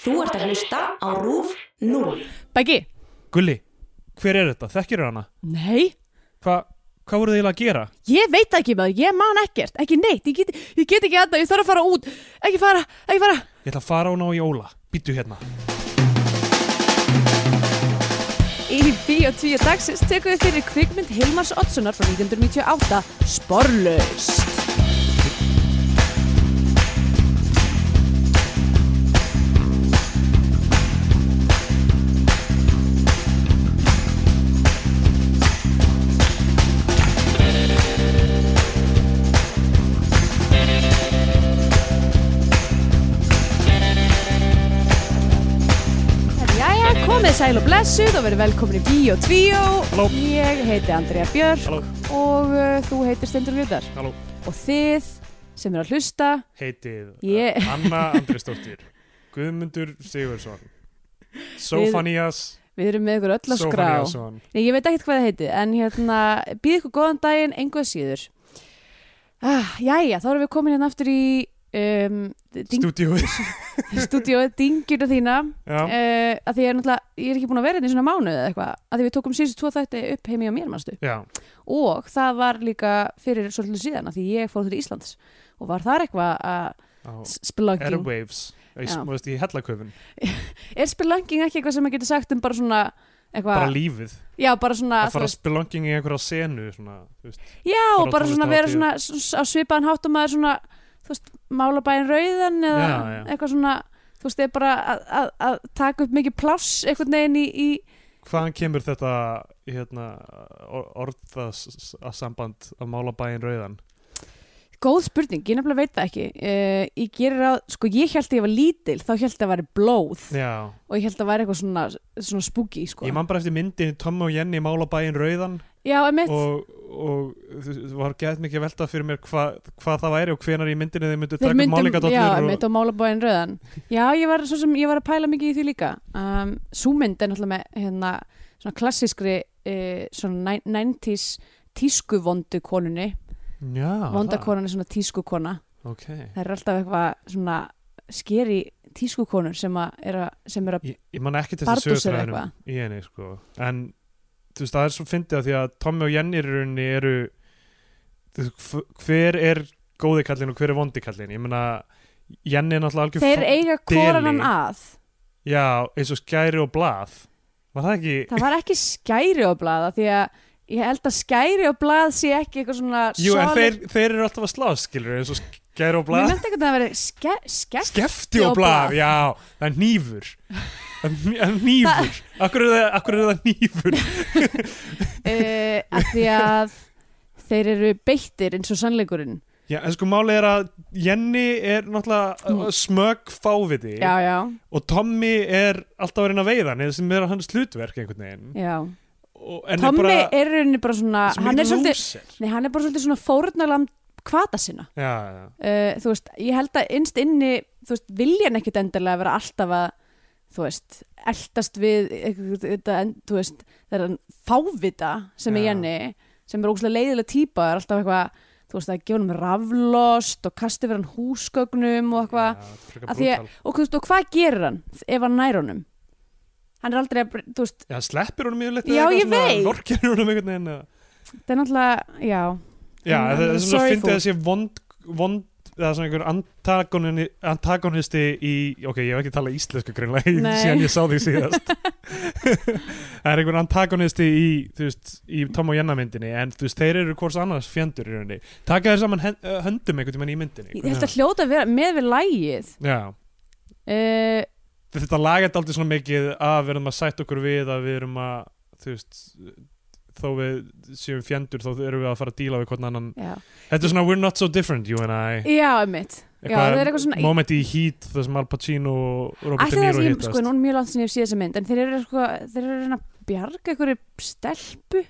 Þú ert að hlusta á RÚF 0. Beggi? Gulli, hver er þetta? Þekkir hana? Nei, Hva, hvað voruð þið eiginlega að gera? ég veit það ekki maður, ég man ekkert, ekki neitt, ég get, ég get ekki aðna, ég þarf að fara út, ekki fara, ekki fara. Ég ætla að fara á hana á jóla. Býttu hérna. Í Bíó 10 dagsins tekum við fyrir kvikmynd Hilmars Oddssonar frá 1998, Sporlaust. Jæja, komið sæl og blessuð og verið velkomin í Bíó 2. Halló. Ég heiti Andrea Björk Halló, og uh, þú heitir Stendur Gjöldar. halló. Og þið sem eru að hlusta, Heitið uh, Ég- Anna Andrisdóttir. Guðmundur Sigursson. Sofanias við erum með ykkur öll að skrá. Sofaniasson. Nei, ég veit ekkert hvað það heiti, en hérna, býð ykkur góðan daginn, engu að síður. Ah, jæja, þá erum við komin hérna aftur í um, ding, Stúdíóið. stúdíu, dingjuna þína, uh, Já, að því ég er náttúrulega, ég er ekki búin að vera hérna í svona mánuð eða eitthvað, að því við tókum síðustu tvo þætti upp heimi á mér, manstu. já. Og það var líka fyrir svolítið síðan, að því ég fór til Íslands og var þar eitthvað að Á splunking. Airwaves. Í, Já. þú veist, í hellaköfun. Er splunking ekki eitthvað sem maður getur sagt um bara svona, Bara eitthvað, lífið. já, bara svona, Að þú fara spilonging í einhverja senu. Svona, þú veist. Já, Fara og á bara svona vera svona tónlistarhátíð. s- á svipaðan hátt og maður svona, þú veist, málabæðin rauðan eða Já, já. eitthvað svona, þú veist, er bara að, að, að taka upp mikið pláss einhvern veginn í, í Hvaðan kemur þetta hérna, orðasamband að mála bæinn rauðan? góð spurning, ég nefnilega veit það ekki. Uh, ég gerir að, sko, ég held að ég var lítil, þá held að það væri blóð Já, og ég held að það væri eitthvað svona, svona spooky, sko. Ég man bara eftir myndin Tommi og Jenny mála bæinn rauðan Já, emitt, og, og þú þú var gett mikið að velta fyrir mér hva, hvað það væri og hvenar í myndinni þið myndu taka já, málingadóttur emitt og og málabæðin rauðan. Já, ég var, svo sem, ég var að pæla mikið í því líka. Um, Súmynd er náttúrulega með, hérna, svona klassískri, uh, svona næ- 90s, tískuvondu konunni, já, vondakonan er svona tískukona það, ok. það er alltaf eitthvað svona skeri tískukonur sem að er að, sem er að ég, ég man ekki til Bardus þess er að sögutræðinum í henni sko. en þú veist það er svo fyndið að því að Tommi og Jenny í rauninni eru þú veist, hv- hver er góði kallinn og hver er vondi kallinn ég meina Jenny er náttúrulega algjör þeir fa- eiga konan að já, eins og skæri og blað var það ekki það var ekki skæri á blaða því að ég held að skæri á blað sé ekki eitthvað svona Jú, en solid- þeir, þeir eru alltaf að slá, skilur eins og skæri og Mér blað nefndi eitthvað að það veri ske, skeft Skefti og blað, já, það er nýfur Það er nýfur Akkur er það, akkur er það nýfur uh, af því að þeir eru beittir eins og sannleikurinn Já, en sko málið er að Jenny er náttúrulega uh, smög fáviti já, já, og Tommy er alltaf að reyna að veiða hann sem er hans hlutverk einhvern veginn já og, en Tommi er bara, er í rauninni bara svona svo hann er, mikið svolítið, lúser. nei, hann er bara svolítið svona fórnalam kvata sinna Já, já, uh, þú veist, ég held að innst inni þú veist, vilja hann ekkit endilega vera alltaf að þú veist, eldast við eitthvað, þetta, en, þú veist, það er hann fávita sem er Já. Jenny sem er ógustlega leiðilega típa, er alltaf eitthvað þú veist, að gefa hann raflost og kasti verið hann húsgögnum og eitthvað já, þetta er frekar Af því að- brútal. og, þú veist, og hvað gerir hann ef hann nær honum hann er aldrei, að, þú veist, Já, hann sleppir honum yfirleitt Já, ég veit. Vorkir honum einhvern veginn eða- það er náttúrulega já, Já, I'm- I'm það er svona Um, sorry að fyndi for- þessi vond, vond eða svona einhver antagoni- antagonisti í, ok, ég hef ekki talað íslensku grunlega Nei. síðan ég sá því síðast það er einhver antagonisti í, þú veist, í Tom og Jenna myndinni en þú veist, þeir eru hvors annars fjendur í rauninni taka þeir saman hen- eh, höndum einhvern tímann í myndinni ég held að hljóta að vera með við lægið Já, uh, þetta laga þetta aldrei svona mikið að við erum að sætt okkur við að við erum að, þú veist þó við séum fjendur þá erum við að fara að díla við hvern annan já, Þetta er svona, we're not so different, you and I já, einmitt Já, það er eitthvað svona- moment í Heat þar sem Al Pacino og Robert Ætli De það Niro sé, hittast sko, nú er mjög langt sem ég hef séð þessa mynd en þeir eru, sko, þeir eru að reyna að bjarga einhverju stelpu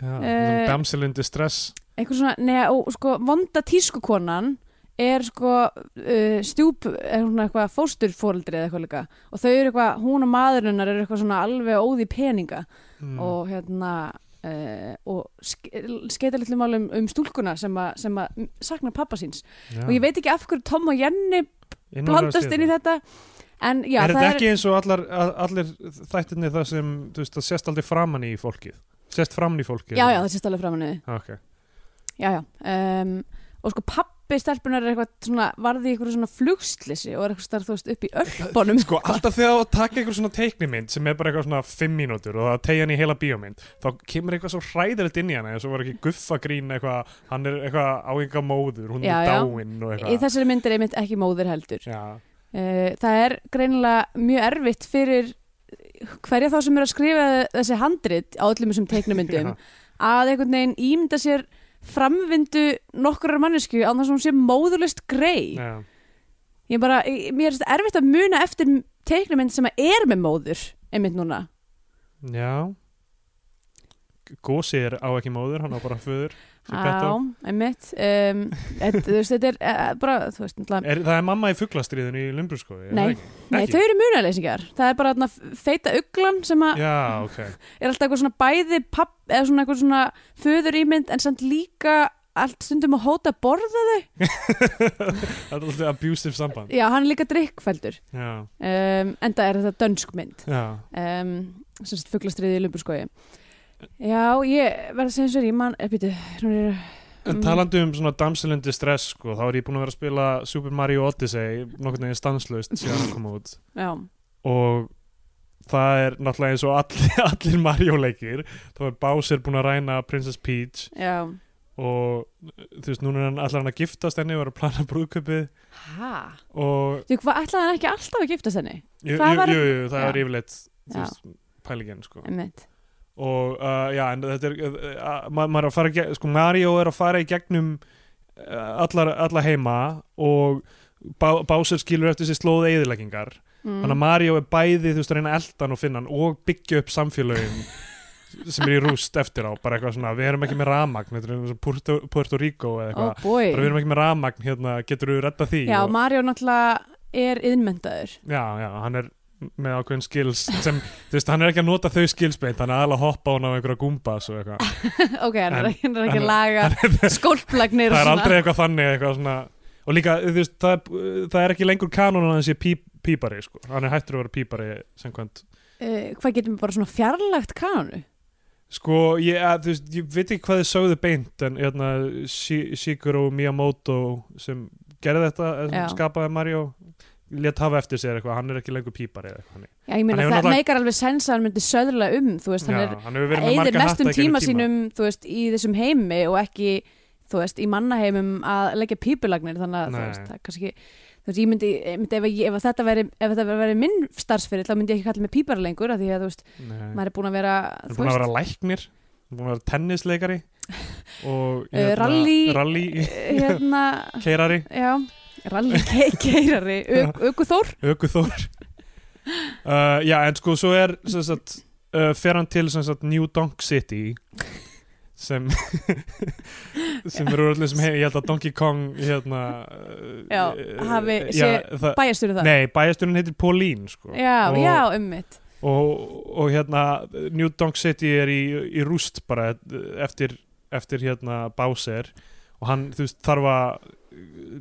Já, eh, uh, damselindi stress einhver svona, neða, og sko, vonda tískukonan er sko uh, stjúp, er hún eitthvað fósturfóreldri eða eitthvað líka og þau eru eitthvað, hún og maðurinn hennar eru eitthvað svona alveg óði peninga mm. og hérna uh, og ske, skeita litlu málum um stúlkuna sem að, sem að sakna pappa síns og ég veit ekki af hverju Tom og Jenny blandast inn í þetta en já, það er þetta er ekki eins og allar, a- allir þættinni það sem, þú veist, það sést aldrei framan í fólkið sést framan í fólkið já, já, það sést alveg framan í því Ah, ok. já, já um, og sko pappi stelpunar er eitthvað svona, varði í eitthvað svona flugslissi og er eitthvað starf, þú veist, upp í örpunum Sko, alltaf þegar þú taka einhver svona teiknimynd sem er bara eitthvað svona fimm mínútur og það tegja hann í heila bíómynd þá kemur eitthvað svo hræðilegt inn í hana eins og var ekki guffagrín eitthvað hann er eitthvað áenga móður, hún Já, er já. dáinn og í eitthvað þessari mynd er einmitt ekki móðir heldur Já, uh, það er greinilega mjög erfitt fyrir hverja þá sem er að skrifa þessi handrit á öllum þessum teiknumyndum Já. að einhvern veginn ímynda sér framvindu nokkurar mannesku án þess að hún sé móðurlust grei já, ég bara, ég- mér er þetta erfitt að muna eftir teiknumynd sem að er með móður einmitt núna já. Gósi er á ekki móður, hann á bara föður sem Já, Bettó. einmitt um, þetta, þú veist, þetta er eh, bara, þú veist, náttúrulega er, Það er mamma í fugglastriðinu í Lumbruskofi er það Nei. ekki? Nei, Eh, Ekki? þau eru munaleysingar Það er bara þarna feita uglan sem að Já, ok er alltaf eitthvað svona bæði papp, eða svona eitthvað svona föðurýmynd en samt líka allt stundum að hóta að borða Það er alltaf abusive samband Já, hann er líka drikkfældur Já, um, en það er þetta dönskmynd já um, sem sagt fugglastriði í Lumburskói Já, ég verð að segja eins og er ég mann, er býtu hún er, En Mm. talandi um svona damselindi stress sko, þá er ég búin að vera að spila Super Mario Odyssey nokkurn veginn stanslust síðan að koma út já, og það er náttúrulega eins og allir, allir Mario leikir þá er Bowser búin að ræna Princess Peach já og þú veist, núna er hann allar hann að giftast henni og er að plana brúðköpið Hæ? og Þú, hvað ætlaði hann ekki alltaf að giftast henni? jú, jú, Það var- jú, jú, það Já. er yfirleitt þú Já. veist, pælingin sko Einmitt, og uh, já, en þetta er uh, uh, ma maður er að fara, í geg- sko Mario er að fara í gegnum uh, allar, alla heima og Bá- Bowser skilur eftir sér slóð eðileggingar Mm. þannig að Mario er bæði þú veist að reyna eldan og finna hann og byggja upp samfélögin sem er í rúst eftir á bara eitthvað svona, við erum ekki með ramagn þetta er eins og Puerto, Puerto Rico eða oh eitthvað boy bara við erum ekki með ramagn, hérna, getur þú redda því Já, og, Mario náttúrulega er yðnmyndaður já, já, hann er með ákveðin skills sem, þú veist, hann er ekki að nota þau skills beint, hann er alveg að hoppa á hann á einhverja gumbas og eitthvað Ok, hann er En- ekki, hann er ekki en- að laga skólplagnir það er aldrei eitthvað þannig eitthvað svona og líka þú veist, það, er- það er ekki lengur kanon að hann sé pí, pípari sko. hann er hættur að vera pípari samkvæmt uh, hvað getum við bara svona fjarlægt kanonu sko ég, að, þú veist, ég veit ekki hvað þið sögðu beint en hérna, Shi- Shigeru Miyamoto sem gerði þetta eða Já. sem skapaði Mario let hafa eftir sér eitthvað, hann er ekki lengur pípari eða eitthvað þannig. já ég meina Hann hefur það náttúrulega- meikar alveg sens að hann myndi söðla um þú veist, hann Já, hann hefur verið er með eigðir marga hatta mestum í gegnum tíma tíma. sínum þú veist, í þessum heimi og ekki þú veist, í mannaheimum að leggja pípulagnir þannig að þú Nei. veist, það kannski þú veist, ég myndi, ég myndi ef, að ég, ef að þetta veri ef þetta veri minn starfsfyrir, þá myndi ég ekki kalla mig pípara lengur af því að þú veist, Nei. maður er búin að vera hann er þú búin að veist, vera læknir hann er búin að vera tennisleikari og Eh, rally- rally hérna keirari já, ralli ke keirari aukuþór Ökuþór uh, Já, en sko, svo er sem sagt, uh, fer hann til sem sagt, New Donk City sem sem eru allir sem hef, ég held að Donkey Kong hérna uh, Já, uh, hafi já, það, bæjastur það Nei, bæjasturinn heitir Pauline sko. já, og, já, um ummitt og, og hérna New Donk City er í, í rúst bara eftir, eftir hérna Bowser og hann þú veist, þarf að uh,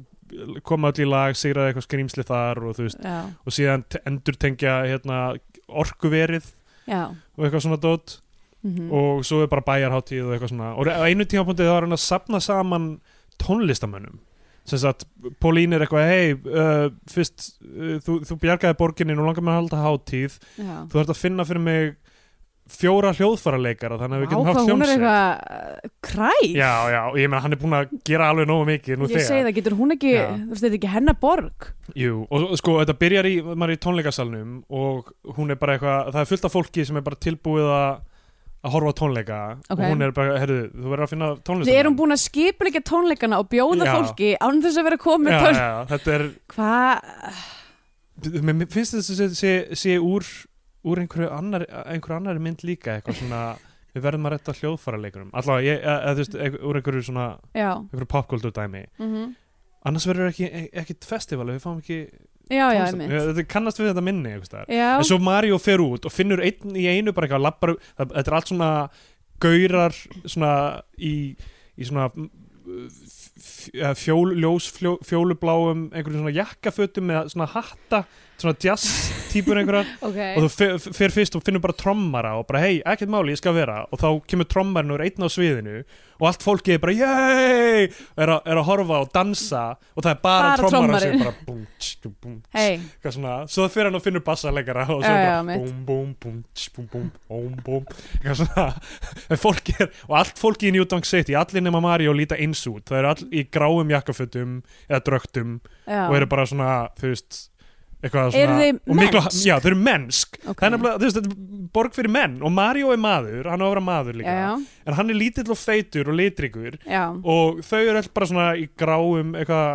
koma öll í lag, sigraði eitthvað skrýmsli þar og þú veist já, og síðan endur tengja hérna, orkuverið já og eitthvað svona dót mm -hmm. og svo er bara bæjarháttíð og eitthvað svona og á einu tímapunkti þá er hann að sapna saman tónlistamönnum sem sagt, Pólín er eitthvað hei, uh, fyrst uh, þú, þú bjargaði borginni, nú langar mér að halda hátíð Já. þú ert að finna fyrir mig fjóra hljóðfaraleikara þannig að við getum Vá, haft hvað hún er hljómsveit eitthvað uh, kræf Já, já, og ég meina hann er búin að gera alveg nógu mikið nú ég segi þegar það, getur hún ekki, Já. þú veist, þetta er ekki hennar borg Jú, og sko, þetta byrjar í, maður er í tónleikasalnum og hún er bara eitthvað, það er fullt af fólki sem er bara tilbúið að að horfa á tónleika Ok. og hún er bara, herðu, þú verður að finna tónlistar við erum búin að skipulegja tónleikana og bjóða Já. fólki án þess að vera komið með tón Já, já, þetta er, hvað, mér mér finnst þess að sé, sé úr, úr einhverju annar, einhverju annari mynd líka eitthvað svona, við verðum að retta hljóðfara leikurum allavega, ég, að, að, þú veist, einhver- úr einhverju svona, já einhverju popkultur dæmi mm annars verður ekki, e- ekkit festival við fáum ekki já, já, tónlistar- einmitt Þetta kannast við þetta minni, einhvers staðar. já, en svo Mario fer út og finnur einn í einu bara eitthvað labbar, það, þetta er allt svona gaurar svona í, í svona mm, f- f- fjól, ljós fjó, fjólubláum einhverjum svona jakkafötum með svona hatta svona jazz típur einhverjar ok, og þú fer- fer fyrst og finnur bara trommara og bara hei, ekkert máli, ég skal vera og þá kemur trommarinn úr einn á sviðinu og allt fólkið er bara yey og er, a, er að horfa og dansa og það er bara, Bara trommara sem trommarinn. bara búm, tss, búm, búm, tss, hei eitthvað svona, svo það fyrir hann og finnur bassalegara og svo Já, já, bara mitt. búm, búm, búm, tss, búm, búm, búm, búm eitthvað svona en fólk er, og allt fólki í New Dunk City, allir nema Mario líta eins út, það eru all í gráum jakkafötum eða drögtum já. og eru bara svona, þú veist eitthvað Eru svona þeir og miklu- mennsk? Já, þau eru mennsk Ok. Það er nefnilega, þú veist, þetta er borg fyrir menn og Mario er maður, hann á að vera maður líka já, já, en hann er lítill og feitur og litryggur já og þau eru alltaf bara svona í gráum eitthvað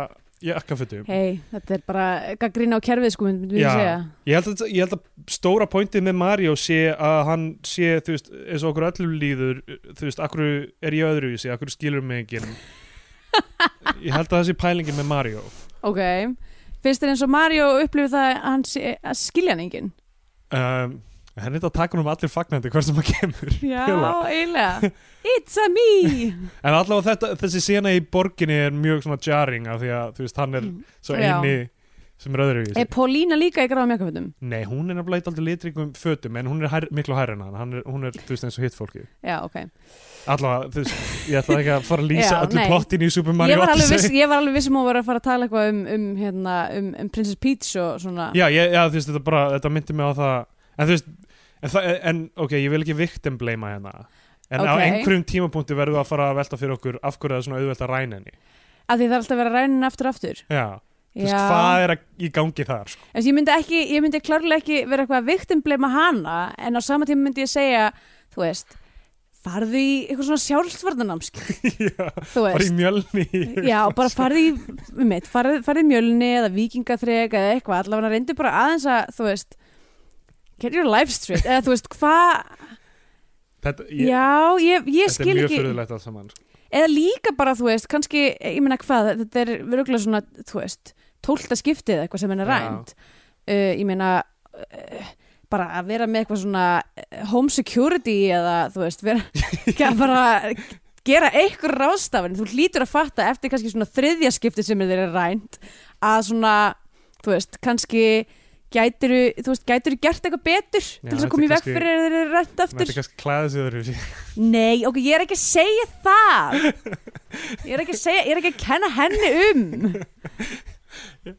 jakkafutum hei, þetta er bara gaggrína á kerfið sko, myndum við Já. að segja ég, held að- ég held að stóra pointið með Mario sé að hann sé, þú veist, eins og okkur öllum líður þú veist, akkur er ég öðru í sig akkur skilur mig ekki ég held að það sé pælingin með Mario ok, finnst þér eins og Mario upplifir það að hann sé, að skilja hann enginn um, henni þetta takur um allir fagnandi hvort sem að kemur já, Fela. eiginlega it's a me En allavega þetta, þessi sena í borginni er mjög svona jarring af því að þú veist, hann er Mm. svo Já. eini sem er öðru í er þessu. Paulína líka í gráðum jakkafutum Nei, hún er nefnilega eitthvað litringum fötum en hún er hær, miklu hærri en hann, hann er, hún er þú veist, eins og hitt fólki. já, ok, Allavega, þú veist, ég ætla ekki að fara að lýsa Já, öllu nei. plottinu í Super Mario ég var alveg Odyssey. viss, ég var alveg viss um að hún var að fara að tala eitthvað um, um, hérna, um, um Princess Peach og svona Já, ég, já, þú veist, þetta bara, þetta myndi mig á það, en þú veist, en, það, en ok, ég vil ekki victim bleima hérna. En á Ok. einhverjum tímapunkti verðum við að fara að velta fyrir okkur af hverju það er svona auðvelt að ræna henni. að því það er alltaf að vera rænin aftur og aftur Já, þú veist, Já. hvað er að, í gangi þar, sko? En ég myndi ekki, ég myndi klárlega ekki vera eitthvað viktimblema hana en á sama tíma myndi ég segja, þú veist farðu í eitthvað svona sjálfsvarnanámski já, þú bara veist, í mjölni. já, bara farðu í um eitt, farðu, farðu í mjölni eða vikingaþreg eða eitthvað, allavega reyndu bara aðeins að þú veist, get your life straight eða þú veist, hvað, Þetta, ég, já ég, ég Þetta er skil mjög ekki fyrirlegt allt saman sko. eða líka bara, þú veist, kannski ég meina hvað, þetta er virkulega svona þú veist, tólta skiptið eitthvað sem henni Já. rænt uh, ég meina uh, bara að vera með eitthvað svona uh, home security eða þú veist, vera ekki að bara gera einhver ráðstafin, þú hlýtur að fatta eftir kannski svona þriðja skiptið sem er þeirra rænt að svona, þú veist, kannski gætiru, þú veist, gætiru gert eitthvað betur Já, til þess þetta að koma í er veg kannski- fyrir að þeirra rænt Þetta aftur er kannski klæðið sig öðru Nei, ok, ég er ekki að segja það Ég er ekki að segja, ég er ekki að kenna henni um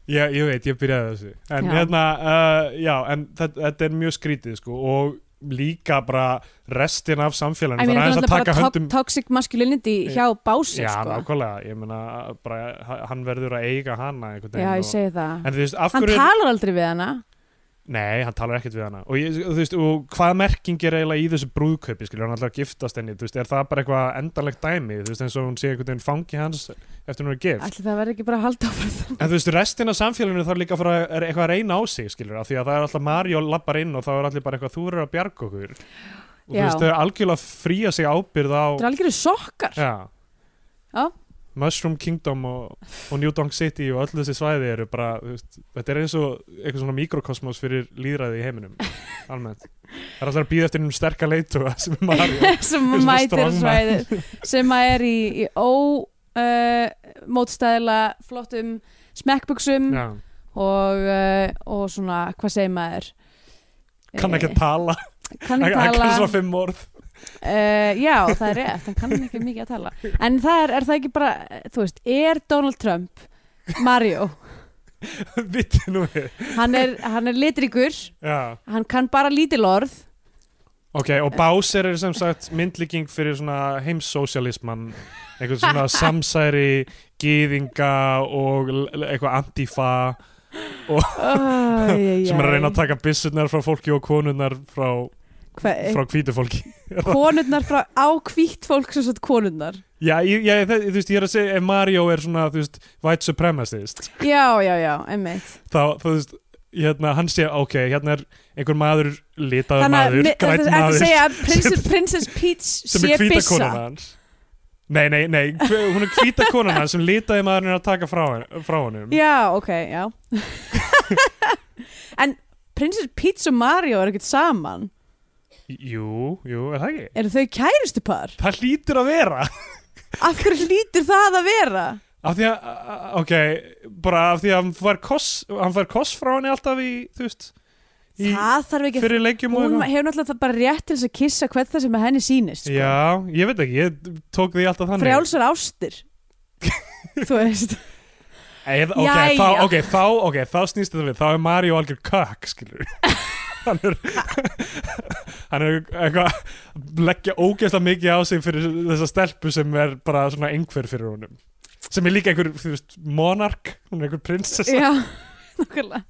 ég, ég veit, ég byrjaði þessu En, Já. Hérna, uh, já, en þetta, þetta er mjög skrítið sko, og líka bara restin af samfélaginu Ég meina, Það er þetta aðeins er að taka náttúrulega bara höndum to toxic masculinity hjá bási Já, sko. nákvæmlega, ég meina bara, ha- hann verður að eiga hana einhvern Já, veginn ég segi það En þú veist, af Hann hverju talar aldrei við hana Nei, hann talar ekkert við hana og, ég, þú veist, og hvað merking er eiginlega í þessu brúðkaupi skilur hann alltaf að giftast henni þú veist, er það bara eitthvað endanlegt dæmi þú veist, eins og hún sé einhvern veginn fangi hans eftir hún er gift Ætli það verði ekki bara að halda áfram það En þú veist, restin af samfélaginu þarf líka að fara er eitthvað að reyna á sig, skilur, af því að það er alltaf Mario lappar inn og þá er allir bara eitthvað, þú eru að bjarga okkur. Og þú Já. veist, þau eru algjörlega fría sig ábyrð á... Þetta er algjörðu sokkar Já. Já. Mushroom Kingdom og, og New Donk City og öll þessi svæði eru bara, þú veist, þetta er eins og eitthvað svona mikrokosmos fyrir líðræði í heiminum, almennt. Það er alltaf að býða eftir einum sterka leitu sem er Mario. sem Svona mætir strong man. svæði sem að er í, í ó uh, mótstæðila flottum smekkbuxum Já. og, uh, og svona, hvað segir maður Kann ekki að tala. Eh, kann ekki Hann tala kann svona fimm orð. Uh, já, það er rétt, hann kann ekki mikið að tala En það er, er það ekki bara, eh, þú veist, er Donald Trump Mario? Vitti nú við. Hann er, hann er litrikur, Já. hann kann bara lítil orð Ok, og Bowser er sem sagt myndlíking fyrir svona heimsósialisman einhvern svona samsæri gýðinga og l- l- eitthvað antifa oh, sem er að reyna að taka byssunar frá fólki og konunar frá, eh? frá hvítu fólki Konurnar frá, á hvítt fólk sem sagt konurnar Já, ég, ég, þe- þú veist, ég er að segja ef Mario er svona, þú veist, white supremacist Já, já, já, einmitt þá, þú veist, hérna, hann sé ok, hérna er einhver maður litaður að maður, mi- grætt þetta er að maður segja að Princess, Princess Peach sem sé er hvíta byssa konan hans Nei, nei, nei, hve- hún er hvíta konan hans sem litaði maðurinn er að taka frá, hen- frá honum Já, ok, já En Princess Peach og Mario eru ekkert saman Jú, jú, er það ekki? Eru þau kærustu par? Það hlýtur að vera Af hverju hlýtur það að vera? af því að, ok bara af því að hann fær koss hann fær koss frá henni alltaf í, þú veist í það þarf ekki fyrir leikjum og hún eitthvað. hefur náttúrulega það bara rétt til þess að kissa hvern það sem er henni sýnist sko. Já, ég veit ekki, ég tók því alltaf þannig frjálsar ástir þú veist Eð, ok, Jæja. þá, ok, þá, ok, þá snýst þetta við þá er Mario algjör kakk, skilur hann er hann er eitthvað að leggja ógeðslega mikið á sig fyrir þessa stelpu sem er bara svona einhver fyrir honum sem er líka einhver, þú veist, monark hún er einhver prinsessa já, nokkulega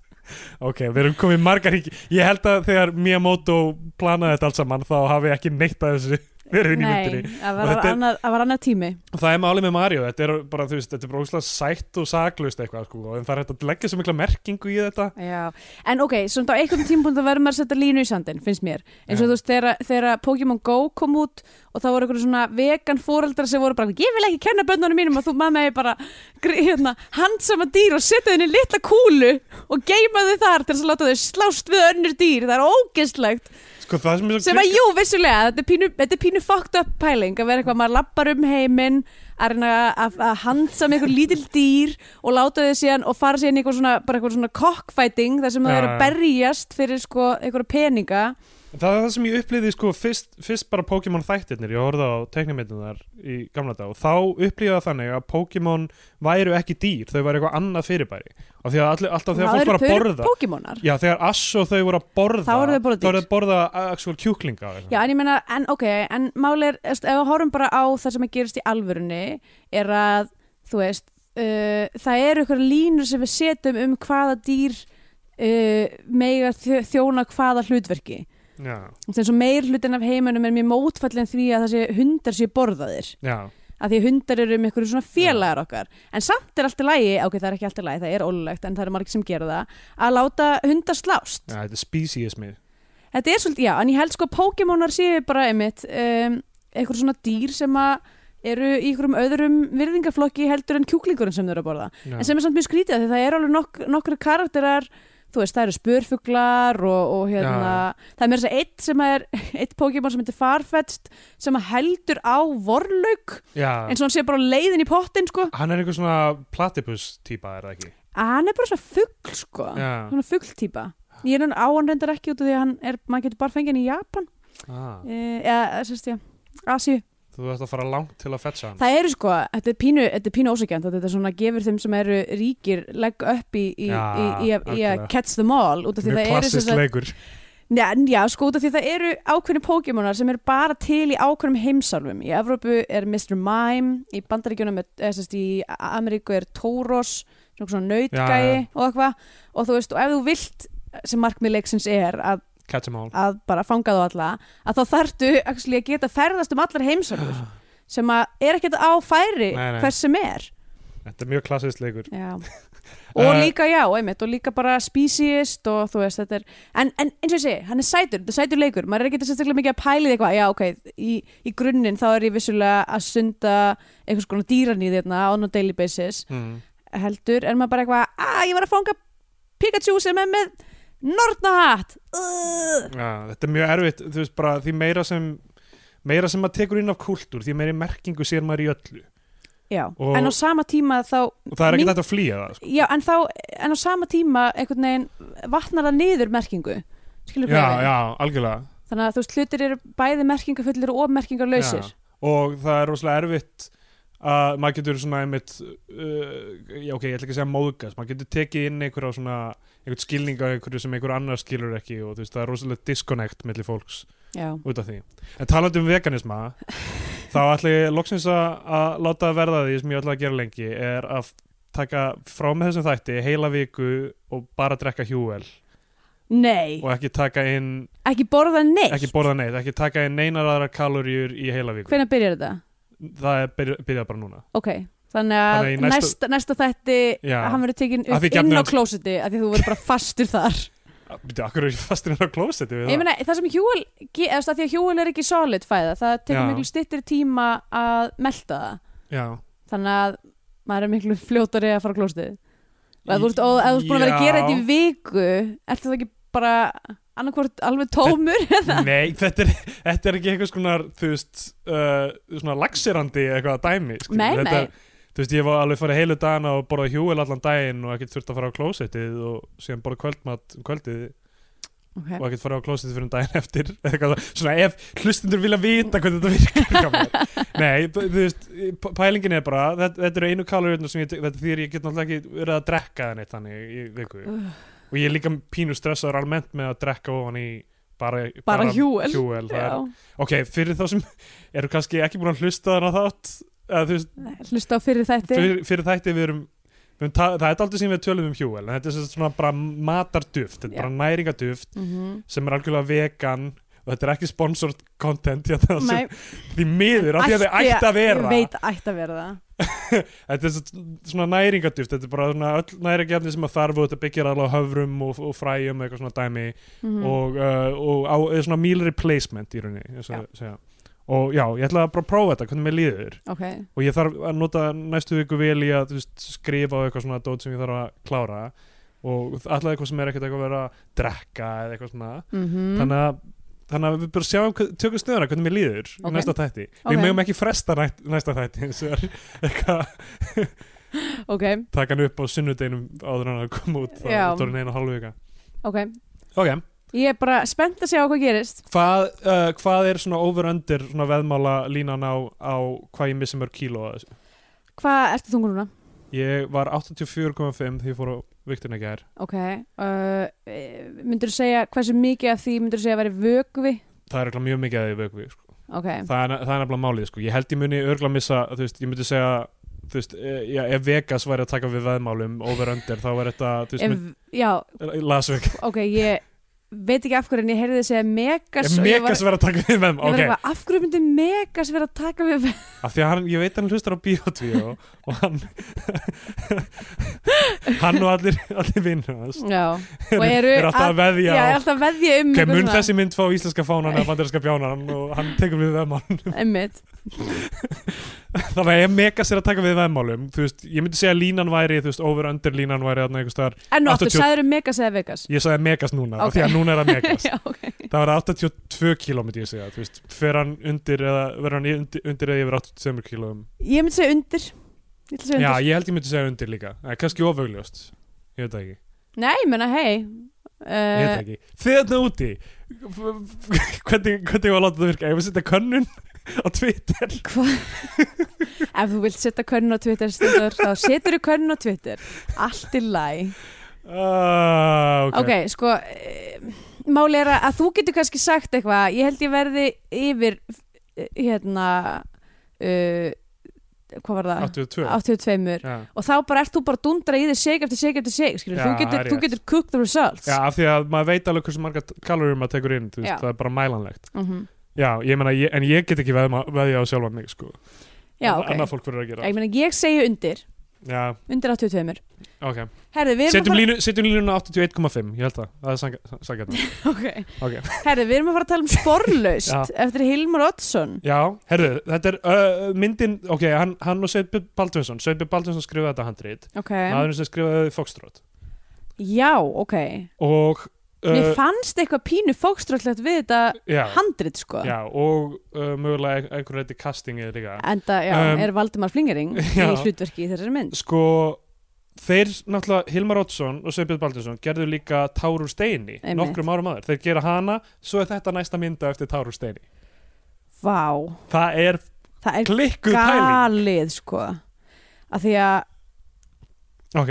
ok, við erum komið margar hringi ég held að þegar Miyamoto planaði þetta allt saman þá hafi ekki neitt að þessu verið inn í myndinni það Og var, þetta er- annar, það var annar tími og það er málið með Mario, þetta er bara, þú veist, þetta er bara ógeðslega sætt og saklaust eitthvað, sko, en það er hægt að leggja svo mikla merkingu í þetta Já, en ok, svona á einhvern tímpun þá verður maður að setja línu í sandin, finnst mér eins og Já. þú veist, þegar, þegar Pokémon Go kom út og það voru einhverjum svona vegan fóreldrar sem voru bara, ég vil ekki kenna bönnunum mínum að þú mamma er bara gr- hérna, handsama dýr og setja þenni litla kúlu og geima þau þar til þess að láta þau slást við önnur dýr, það er ógeðslegt Sko það sem er svo sem að jú, vissulega, þetta er pínu, þetta er pínu fucked up pæling að vera eitthvað, maður lappar um heiminn að reyna að, að handsa með eitthvað lítil dýr og láta þið síðan og fara síðan í eitthvað svona, bara eitthvað svona cockfighting þar sem það Já, er að já. berjast fyrir sko eitthvað peninga Það er það sem ég upplýði sko fyrst, fyrst bara Pokémon þættirnir, ég horfði á teknimyndunar í gamla dag og þá upplýði það þannig að Pokémon væru ekki dýr, þau væru eitthvað annað fyrirbæri og því að allir, alltaf þegar Það fólk eru var að pör- borða Pokémonar Já, þegar Ash og þau voru að borða Þá voru þau borða Þá voru dýr. þau borða actual kjúklinga og eitthvað. Já, en ég meina, en ok, en máli er, þú veist, ef við horfum bara á það sem að gerist í alvörunni, er að, þú veist, uh, það eru ykkur línur sem við setjum um hvaða dýr uh, mega þjó- þjóna hvaða hlutverki. Já, þess að meir hlutin af heiminum er mjög mótfallin því að þessi hundar séu borðaðir já, að því að hundar eru með einhverju svona félagar okkar en samt er allt í lagi, ok það er ekki allt í lagi það er ólulegt en það eru margir sem gera það að láta hundar slást já, þetta er speciesmi þetta er svolítið, já, en ég held sko að Pokémonar séu bara einmitt um, einhver svona dýr sem að eru í einhverjum öðrum virðingaflokki heldur en kjúklingurinn sem þau eru að borða en sem er samt mjög skrítið af því það er alveg nok nokkru karakterar þú veist, það eru spörfuglar og, og hérna, það er mér þess að segja eitt sem er eitt Pokémon sem heitir Farfetch'd sem að heldur á vorlaug Já, eins og hann sé bara á leiðin í pottin sko. hann er einhver svona platypus típa, er það ekki? að hann er bara svona fugl sko. Já, svona fugltýpa ég er hann á hann reyndar ekki út af því að hann er, maður getur bara fengið hann í Japan ah, e, eða, sérst ég, Asíu þú ætti að fara langt til að fetsa hann Það eru sko, þetta er pínu, þetta er pínu ósækjönd þetta er svona gefur þeim sem eru ríkir legg upp í, í, Já, í, í, að- í að algjörlega. catch them all út af því það Mjög eru sem klassist sagt- leikur Nei, já, sko, út af því það eru ákveðni Pokémonar sem eru bara til í ákveðnum heimsálfum. Í Evrópu er Mr. Mime, í Bandaríkjunum er, eða sérst, í A- Ameríku er Tauros, svona svona Já, já. nautgæi og eitthvað. Og þú veist, og ef þú vilt, sem markmið leiksins er, að, Catch 'em all að bara fanga þú alla, að þá þarftu actually, að geta ferðast um allar heimsálfur sem að er ekkert á færi Nei, nei. hvers sem er. Þetta er mjög klassist leikur Já. og Eh. líka já, einmitt, og líka bara species og þú veist, þetta er en, en eins og ég segi, hann er sætur, þetta er sætur leikur maður er ekki þetta sérstaklega mikið að pæli því eitthvað já, ok, í, í grunninn þá er ég vissulega að sunda einhvers konar dýran í þérna on a daily basis mm. heldur, en maður bara eitthvað að ég var að fanga Pikachu sem er með nornahatt uh. Já, þetta er mjög erfitt, þú veist bara því meira sem meira sem maður tekur inn af kultúr því meiri merkingu sér maður í öllu já, Og- en á sama tíma þá og það er ekki Mín- þetta að flýja það sko. já, en þá, en á sama tíma einhvern veginn vatnar það niður merkingu skilur Já, hvað við já, algjörlega þannig að þú veist, hlutir eru bæði merkingafullir og merkingarlausir Já. og það er rosalega erfitt að maður getur svona einmitt uh, já ok, ég ætla ekki að segja móðgast maður getur tekið inn einhverja svona einhvern skilning á einhverju sem einhver annar skilur ekki og þú veist, það er rosalega disconnect milli fólks Já. út af því en talandi um veganisma þá ætla ég loksins að, að láta það verða því sem ég ætla að gera lengi er að taka frá með þessum þætti heila viku og bara drekka hjúvel Nei, og ekki taka inn, ekki borða neitt ekki borða neitt ekki taka inn neinar aðra kaloríur í heila viku Hvenær byrjar þetta? það er byrja, byrja bara núna Ok, þannig að Þannig í næsta, næsta- næsta, þætti Já. hann verður tekin Að upp því inn á gefnu- klósiti af því þú verður bara fastur þar Býtu, akkur er ég fastur inn á klósetti við Ég það? meina, það sem hjúl, eða það því að hjúl er ekki solid fæða, það tekur Já. miklu styttir tíma að melta það Já. þannig að maður er miklu fljótari að fara á klósitið og ef þú ert ó- ef þú ert búin að vera að Já. gera þetta í viku ertu það ekki bara annarkvort alveg tómur Nei, þetta er, þetta er ekki eitthvað skonar, þú veist, uh, svona laxirandi eitthvað dæmi. skilur. Nei, þetta, nei, þú veist, ég var alveg farið heilu dagana og borða hjúil allan daginn og ekkert þurft að fara á klósettið og síðan borða kvöldmat um kvöldið og ok, ekkert fara á klósettið fyrir um daginn eftir eða eitthvað svona ef hlustundur vilja vita hvernig þetta virkar gammal. nei, b- þú veist, p- pælingin er bara þetta, þetta eru einu kaloriðna sem ég tek- þetta er því að ég get náttúrulega ekki verið að drekka þannig þannig í viku Ugh. og ég er líka pínu stressaður almennt með að drekka ofan í bara, Bara hjúel. hjúel, það er já Ok, fyrir þá sem eru kannski ekki búin að hlusta þannig að þátt eða, þú veist, Nei, hlusta á fyrir þætti fyrir, fyrir þætti við erum við erum ta- það er aldrei sem við tölum um hjúvel en þetta er sem sagt svona bara matarduft þetta er Já. bara næringaduft Mhm. sem er algjörlega vegan og þetta er ekki sponsored content hérna, Nei, sem, því miður, af því að þið ætti ætti að vera ég veit ætti að vera það þetta er sem sagt svona næringaduft þetta er bara svona öll næringjafni sem að þarf og þetta byggir alveg á höfrum og, og fræjum eitthvað svona dæmi Mhm. og, uh, og á, eða svona meal replacement í rauninni eins og Já. segja. og já, ég ætla að bara prófa þetta hvernig mér líður ok, og ég þarf að nota næstu viku vel í að þú veist, skrifa á eitthvað svona dót sem ég þarf að klára og alltaf eitthvað sem er ekkert eitthvað að vera að drekka eða eitthvað svona Mhm. þannig, að, þannig að við bara sjáum hvað- tökum stöðuna hvernig mér líður Ok. okay. næsta þætti Ok. við mögum ekki fresta næ- næsta þætti eins og er eitthvað Mhm. ok, taka hann upp á sunnudeginum áður en að koma út þá Já. er hann einu og hálfu vika ok ok, ég er bara spennt að sjá hvað gerist hvað, uh, hvað er svona over-under svona veðmála línan á, á hvað ég missi mörg kíló af þessu? hvað ertu þungur núna? ég var 84,5 því ég fór á viktina í gær ok, uh, myndur þú segja hversu mikið af því myndur þú segja að vera vögvi? það er eitthvað mjög mikið að því vöku sko. ok, það, er, það er nefnilega málið sko. ég held ég muni örgulega missa þú veist, ég myndi segja þú veist, eh, já, ef Vegas væri að taka við veðmálum over under þá er þetta þú ef, veist, já, mynd, Las Vegas ok, ég veit ekki af hverju en ég heyrði þið segja megas ef og ég var- Vegas væri að taka við Ég var veðmálum ok, eitthvað, af hverju myndi Megas vera að taka við af því að hann, ég veit að hann hlustar á Bíotvíó og, og hann hann og allir, allir vinnur hans Já, og eru er alltaf að Já, veðja ég á- er allaf að veðja um ok, eitthvað mun svona. þessi mynd fá íslenska fánan eða bandarinska bjánan og hann tekur við veðmál Einmitt, Þannig að ef Megas er að taka við veðmálum þú veist, ég myndi segja að línan væri þú veist, over-under línan væri þarna einhvers staðar en nú aftur 80 sæður um Megas eða Vegas ég sagði Megas núna, Ok. okay. því að núna er það Megas Já, ok það var 82 km ég segja, þú veist fer hann undir eða verður hann undir, undir eða yfir 87 km Ég myndi segja undir Ég ætla að segja Já, undir ég held ég myndi segja undir líka, eh, kannski ofaugljast ég veit það ekki, Nei, ég menna, hei ég veit uh, það ekki þegar úti hvernig, hvernig var að láta það virka, ef við setja könnun á Twitter Hvað? Ef þú vilt setja körn á Twitter stundur, þá setur þú körn á Twitter Allt í læ ah, Ok, sko uh, Máli er að- að þú getur kannski sagt eitthvað Ég held ég verði yfir eh, Hérna uh, Hvað var það? 82 82 Já. og þá bara ert þú bara að dundra í þig seg eftir seg eftir seg skilur, Já, þú, það getur, er þú rétt. getur cook the results Já, af því að maður veit alveg hversu marga kalorir maður tekur inn, þú veist, Já. það er bara mælanlegt. Mhm. Já, ég meina, ég, en ég get ekki veðma, veðja á sjálfan mig, sko. Já, Anna- ok. Annað fólk verður að gera. ég, meina, ég segi undir, Já, undir 82 ok. herðu við, erum Setjum, að línu, setjum línuna 81,5, ég held það. Það er sann- sanngjarnt. fara- Ok. Ok. herðu, við erum að fara að tala um sporlaust eftir Hilmar Oddsson Já, herðu, þetta er uh, myndin, ok, hann, hann og Sveinbjörn Baldvinsson, Sveinbjörn Baldvinsson skrifaði þetta handrit, ok, maðurinn sem skrifaði Foxtrot. já, ok Og, mér uh, fannst eitthvað pínu fókströldlegt við þetta já, handrit sko já, og uh, mögulega einhver reyti castingið líka. en það Um, er Valdimar Flingering í já. hlutverki í þessari mynd sko þeir náttúrulega Hilmar Oddsson og Sveinbjörn Baldinsson gerðu líka Tár úr steini Einmitt. nokkrum árum aður, þeir gera hana svo er þetta næsta mynda eftir Tár úr steini vá, það er það er klikkuð pæling galið sko að því að ok,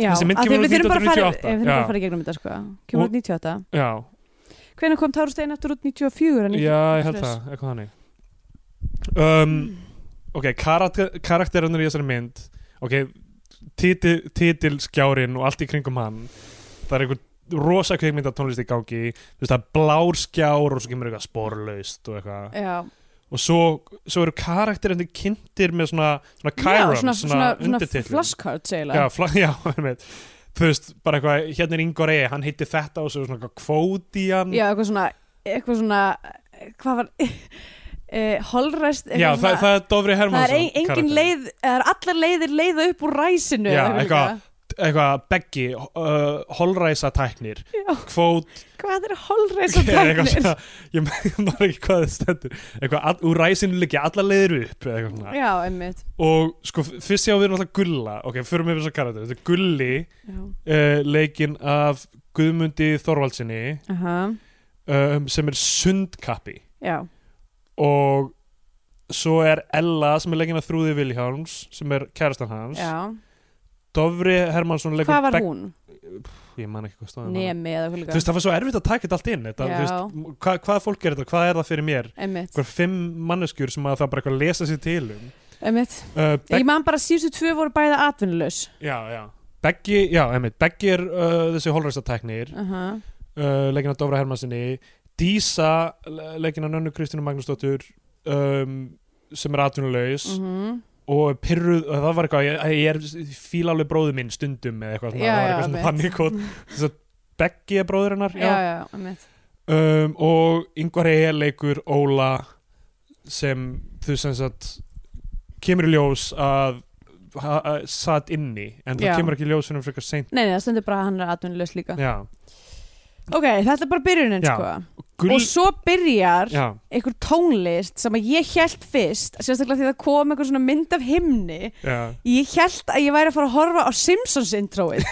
Já, Þessi mynd af því kemur út við þurfum bara að fara- 1998. eh, Við þurfum bara Já. að fara í gegnum þetta sko Kemur Og- út 98 já, Hvenær kom Tárus Stein aftur út 94? eða já 95? ég held það, eitthvað hannig um, Mm. ok, karakter, karakterunir í þessari mynd ok, titil, titilskjárin og allt í kringum hann það er einhver rosa kveikmynda tónlist í gangi þú veist það er blár skjár og svo kemur eitthvað sporlaust og eitthvað Já, og svo, svo eru karakterandi kynntir með svona, svona já kærums, svona, svona, svona undirtitlum. flosskart já, segilega fla, já, einmitt. þú veist, bara eitthvað hérna er Ingvar E, hann heitir þetta og svo er svona eitthvað kvótían Já, eitthvað svona Eitthvað svona eh, Hvað var eh, Holrest eitthvað Já, það, svona- það er Dofri það er Hermansson ein, engin leið Það er allar leiðir leiða upp úr ræsinu Já, eða eitthvað. líka. eitthvað beggi, uh, holræsa tæknir Já, kvót hvað er holreisa eitthvað tæknir? svona, ég maður ekki hvað það stendur eitthvað, all, úr ræsinu liggja alla leiðir upp eða eitthvað svona. Já, einmitt. og sko, fyrst sjá við erum alltaf gulla ok, fyrir mig þess að karakter, þetta er gulli Já. uh, leikinn af Guðmundi Þorvaldsinni Aha, um, sem er sundkappi já, og svo er Ella sem er leikinn af Þrúði Vilhjálms sem er kærastan hans já. Dofri Hermansson leikur Hvað var Begg- hún? ég man ekki hvað stóðum Nemi eða þú hulga? veist það var svo erfitt að taka þetta allt inn Já. þetta, þú veist, m- hva, hvað fólk er þetta, hvað er það fyrir mér Einmitt, hver fimm manneskjur sem að það bara eitthvað að lesa sér til um einmitt. uh, Ég Begg, man bara að síðustu tvö voru bæða atvinnulegs. já, já Beggi, já, einmitt, Beggi er uh, þessi holræstateknir Aha, uh, leikin að Dofra Hermansinni Dísa, le- leikin að Nönnu Kristínu Magnúsdóttur um, sem er atvinnulegs mhm. og pyrruð, og það var eitthvað ég, ég er fíla alveg bróðu minn stundum eða eitthvað, Já, svona, það já, var eitthvað svona einmitt. þannig kótt þess að Beggi er bróður hennar Já, já, einmitt. Um, og yngvar hei leikur Óla sem þú sem sagt kemur í ljós að ha- að satt inni en það Já. kemur ekki í ljós fyrir frekar seint Nei, nei, það stendur bara að hann er atvinnulegs líka. já, Ok, þetta er bara byrjunin, Já. sko. Gull, Og svo byrjar já, einhver tónlist sem að ég held fyrst, sérstaklega því það kom einhver svona mynd af himni, já. ég held að ég væri að fara að horfa á Simpsons introið.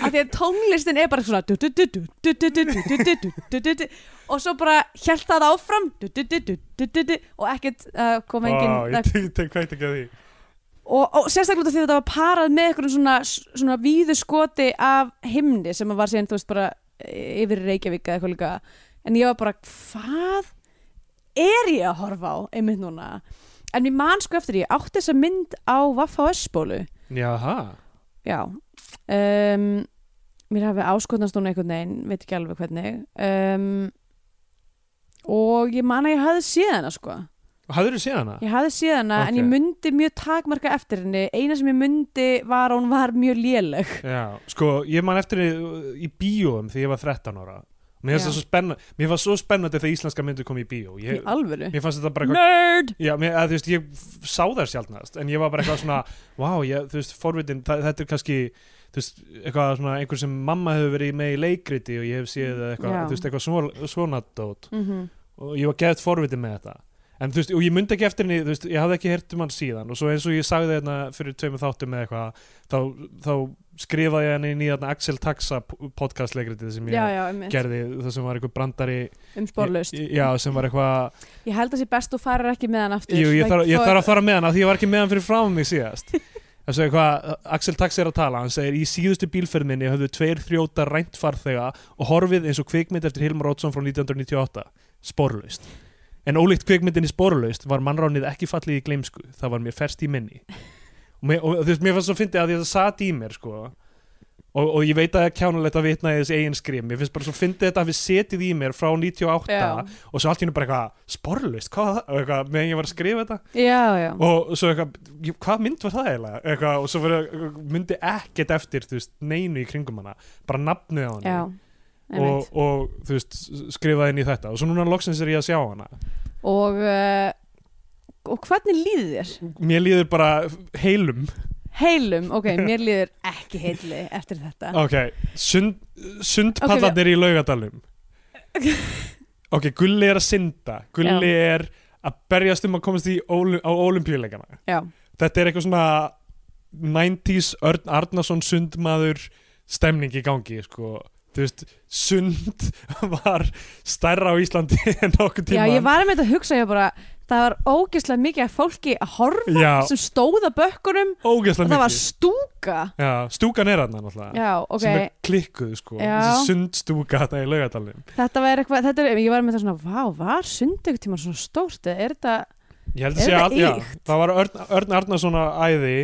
Af því að tónlistin er bara svona du- du- du- du- du- du- du- du- du- du- du- du- du- du- og svo bara held það áfram du- du- du- du- du- du- du- og ekkert uh, kom Vá, engin ég tek- tek hvað ekki að því og, og sérstaklega út af því að þetta var parað með einhverjum svona, svona víðu skoti af himni sem var síðan þú veist bara eh, yfir Reykjavík eða eitthvað líka en ég var bara hvað er ég að horfa á einmitt núna en mér man sko eftir því, ég átti þessa mynd á Vaffa og S-bólu Jaha, já um, mér hafi áskotnast hún einhvern veginn veit ekki alveg hvernig um, og ég man að ég hafði séð hana sko hafður þú séð hana? Ég hafði séð hana en Ok. ég myndi mjög takmarka eftir henni Eina sem ég myndi var að hún var mjög léleg Já, sko, ég man eftir því, uh, í bíóum því ég var 13 ára Mér Já. finnst það svo spennandi Mér fannst svo spennandi þegar íslenska myndu kom í bíó Í Ég, alvöru Mér fannst þetta bara eitthvað Nerd Já, mér, að, þú veist, ég f- sá það sjálfnast en ég var bara eitthvað svona, vá, ég, þú veist, forvitin þa- þetta er kannski, þú veist, eitthvað svona einhver sem mamma hefur verið með í leikriti og ég hef séð eða eitthvað, Já. þú veist, eitthvað svona, svona dót mm og ég var gett forvitin með þetta en þú veist, og ég myndi ekki eftir henni, þú veist, ég hafði ekki heyrt um hann síðan og svo eins og ég sagði hérna fyrir tveimur þáttum eða eitthvað, þá, þá skrifaði ég hann inn í þarna Axel Taxa podcastleikritið sem ég Já, já, einmitt gerði, það sem var eitthvað brandari Um sporlaust já, sem var eitthvað Ég held að sé best þú farir ekki með hann aftur Jú, ég Það- þarf, ég þá- þarf að fara með hann af því ég var ekki með hann fyrir frá mig síðast þess að hvað Axel Tax er að tala hann segir í síðustu bílferð minni höfðu tveir þrjóta rænt farþega og horfið eins og kvikmynd eftir Hilmar Oddsson frá 1998 sporlaust en ólíkt kvikmyndinni sporlaust var mannránið ekki fallið í gleimsku það var mér ferst í minni og, mér, og þú veist, mér fannst svo fyndið að því að það sat í mér sko Og, og ég veit að það er kjánulegt að vitna í þessi eigin skrim ég finnst bara svo fyndið þetta að við setið í mér frá 98 Já. og svo allt í hennu bara eitthvað sporlaust, hvað var það, Og eitthvað, meðan ég var að skrifa þetta Já, já og svo eitthvað, ég- hvað mynd var það eiginlega eitthvað, og svo var, myndi ekkert eftir þú veist, neinu í kringum hana bara nafnið á Já, hana og, einmitt og þú veist, skrifaði inn í þetta og svo núna loksins er ég að sjá hana Og, uh, og hvernig líði þér? mér líður bara heilum Heilum, ok, mér líður ekki heili eftir þetta ok, sund, sundpallarnir í laugadalum ok, Gulli er að synda Gulli er að berjast um að komast í ólu, á olimpíuleikana Já, þetta er eitthvað svona 90s Örn Arnason sundmaður stemning í gangi sko. þú veist, sund var stærra á Íslandi en okkur já tíma ég var með þetta að hugsa ég bara Það var ógeðslega mikið að fólki að horfa sem stóð að bökkunum og ógeðslega það var mikið stúka já, stúkan er hann náttúrulega já, ok, sem er klikkuð sko, Já. þessi sundstúka þetta í laugadalum þetta var eitthvað þetta er, ég var með það svona, vá, var sund einhvern tíma svona stórt, eða er þetta ég held Er að segja þetta all, já, ýkt? það var Örn, Örn Arnason að æði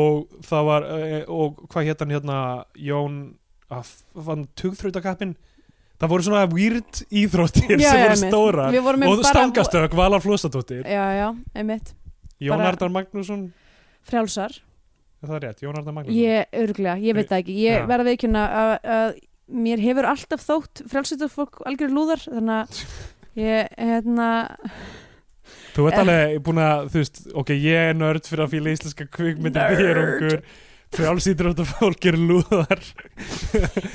og það var eh, og hvað hétt hann hérna Jón að fann tugþrautakappin það voru svona weird íþróttir Já, já, sem voru einmitt. stórar við vorum og einmitt bara stangastökk Valar Flóstadóttir já, já, einmitt, Jón bara- Arnar Magnússon frjálsar er það rétt, Jón Arnar Magnússon ég, örglega, ég veit það ekki ég Já. verði ekki að, að mér hefur alltaf þótt frjálsýttur fólk algjör lúðar þannig að ég, hérna þú ert alveg búin að, þú veist, ok ég er nörd fyrir að fíla íslenska kvikmyndir Nerd. þér ungur frjálsýtróta fólk er lúðar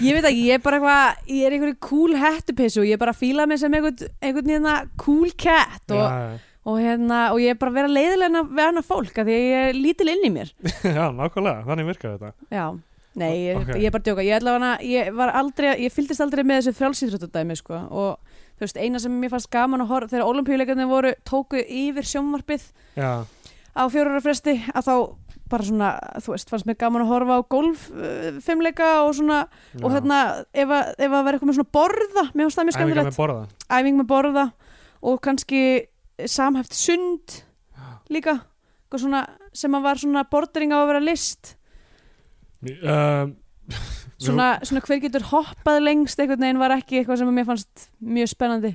Ég veit ekki, ég er bara eitthvað, ég er einhverju cool hættupissu og ég er bara að fíla mig sem einhvern, einhvern hérna cool cat og, já, og hérna, og ég er bara að vera leiðilegna við annað fólk að því að ég er lítil inn í mér. já, nákvæmlega, þannig virkaði þetta Já, nei, ég, Ok. ég er bara að djóka, ég ætla hana, ég var aldrei, ég fylgdist aldrei með þessu frjálsýþróttadæmi, sko, og þú veist, eina sem mér fannst gaman að horfa, þegar olimpíuleikarnir voru, tóku yfir sjónvarpið já, á fjórara fresti að þá bara svona, þú veist, fannst mér gaman að horfa á golf uh, fimmleika og svona og já. hérna, ef að, ef að vera eitthvað með svona borða, mér finnst það mjög Æfingar skemmtilegt með borða æfing með borða og kannski samhæft sund líka, eitthvað svona sem að var svona bordering á að vera list um, svona, svona hver getur hoppað lengst einhvern veginn var ekki eitthvað sem að mér fannst mjög spennandi.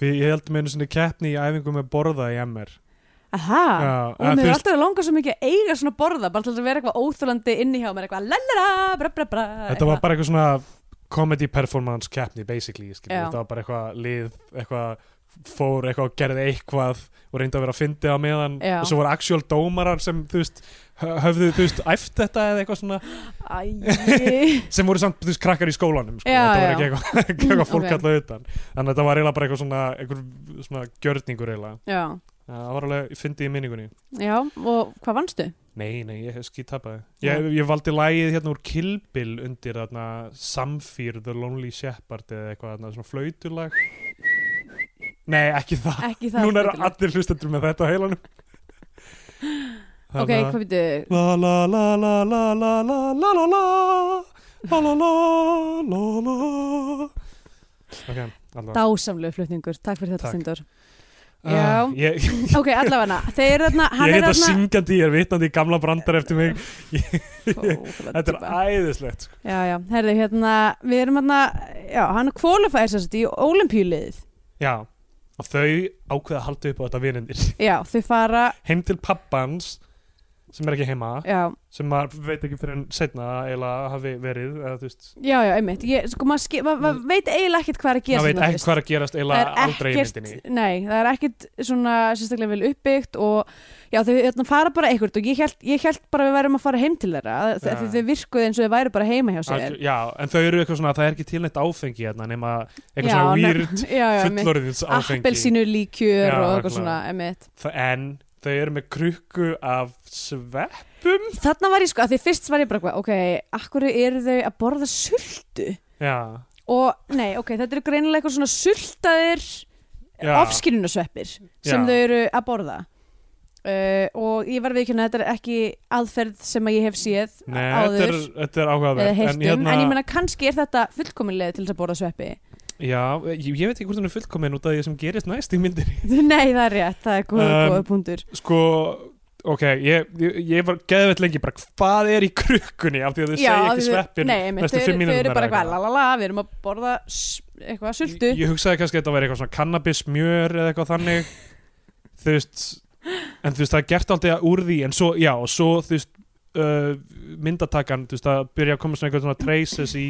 Við ég heldum einu sinni keppni í æfingu með borða í MR Aha, Já, og en mér er þú veist- alltaf að langa svo mikið að eiga svona borða, bara til að vera eitthvað óþúlandi inni hjá mér, eitthvað lalala, bra bra bra Þetta var bara eitthvað svona comedy performance keppni basically, skilur. Já. þetta var bara eitthvað lið, eitthvað fór eitthvað og gerði eitthvað og reyndi að vera að fyndi á meðan Já. og svo voru actual dómarar sem þú veist hö- höfðu þú veist æft þetta eða eitthvað svona Æi sem voru samt þú veist krakkar í skólanum sko. Já, þetta voru já. ekki eitthvað, ekki eitthvað fólk Ok. okay. alltaf utan þannig að þetta var eiginlega bara eitthvað svona, eitthvað svona gjörningur eiginlega Já, það var alveg fyndi í minningunni já, og hvað vannstu? Nei, nei, ég hef skítapaði ég, ég valdi lagið hérna úr Kilbil undir þarna Samfýr, The Lonely Shepherd eða eitthvað þarna svona flautulag Nei, ekki það, Ekki það Núna eru skemmtilegt. allir hlustendur með þetta á heilanum Ok, hvað býttu? La la la la la la la la la la La la la la la Ok, allavega Dásamlegu flutningur, takk fyrir þetta Takk. Stindur Ah, Já. Ég, Ok, allavega, þeir eru þarna ég Hann er heita þarna syngjandi, ég er vitnandi í gamla brandar eftir mig Ó, Þetta er týpa. æðislegt sko. Já, já, herðu, hérna Við erum þarna, já, hann kvalifæðir sér í olimpíuliðið Já, og þau ákveða að halda upp á þetta vinendir Já, þau fara, Heim til pappans sem er ekki heima já sem maður veit ekki fyrir en setna eða hafi verið eða, þú veist, Já, já, einmitt, ég, sko, maður ske- ma- maður veit eiginlega ekkert hvað er að gera maður veit ekki hvað er að gerast eða Það er aldrei í myndinni ekkert, nei, það er ekkert svona sérstaklega vel uppbyggt og já, þau hérna, fara bara eitthvað og ég held, ég held bara að við værum að fara heim til þeirra að- Já. því þau virkuðu eins og þau væru bara heima hjá sér Algjör- Já, en þau eru eitthvað svona það er ekki til neitt áfengi hérna nema eitthvað Já, svona ne- weird já, já, einmitt. fullorðins áfengi appelsínu líkjur Já, og eitthvað nákvæmlega. svona emitt. Þa- en þau eru með krukku af svepp þarna var ég sko, að því fyrst var ég bara eitthvað, ok, akkur eru þau að borða sultu Já, og nei, ok, þetta eru greinilega eitthvað svona sultaðir já, ofskilunasveppir sem Já. þau eru að borða uh, og ég var viðkynna að þetta er ekki aðferð sem að ég hef séð Nei, þetta er, áður þetta er eða áhugavert heyrt um, en, hérna- ég meina kannski er þetta fullkominlega til þess að borða sveppi Já, ég, ég veit ekki hvort hún er fullkomin út af því sem gerist næst í myndinni nei, það er rétt, það er góða, Um, góða punktur sko ok, ég, ég, ég var geðveitt lengi bara hvað er í krukkunni af því að þau segja ekki þau- sveppin nei, einmitt, næstu þau fimm eru- þau eru mínúturnar bara eða eitthvað, la la la, við erum að borða s- eitthvað sultu ég, ég hugsaði kannski að þetta væri eitthvað svona cannabis mjör eða eitthvað þannig þú veist en þú veist það er gert alltaf úr því en svo, já, og svo þú veist uh, myndatakan, þú veist það byrja að koma svona eitthvað svona traces í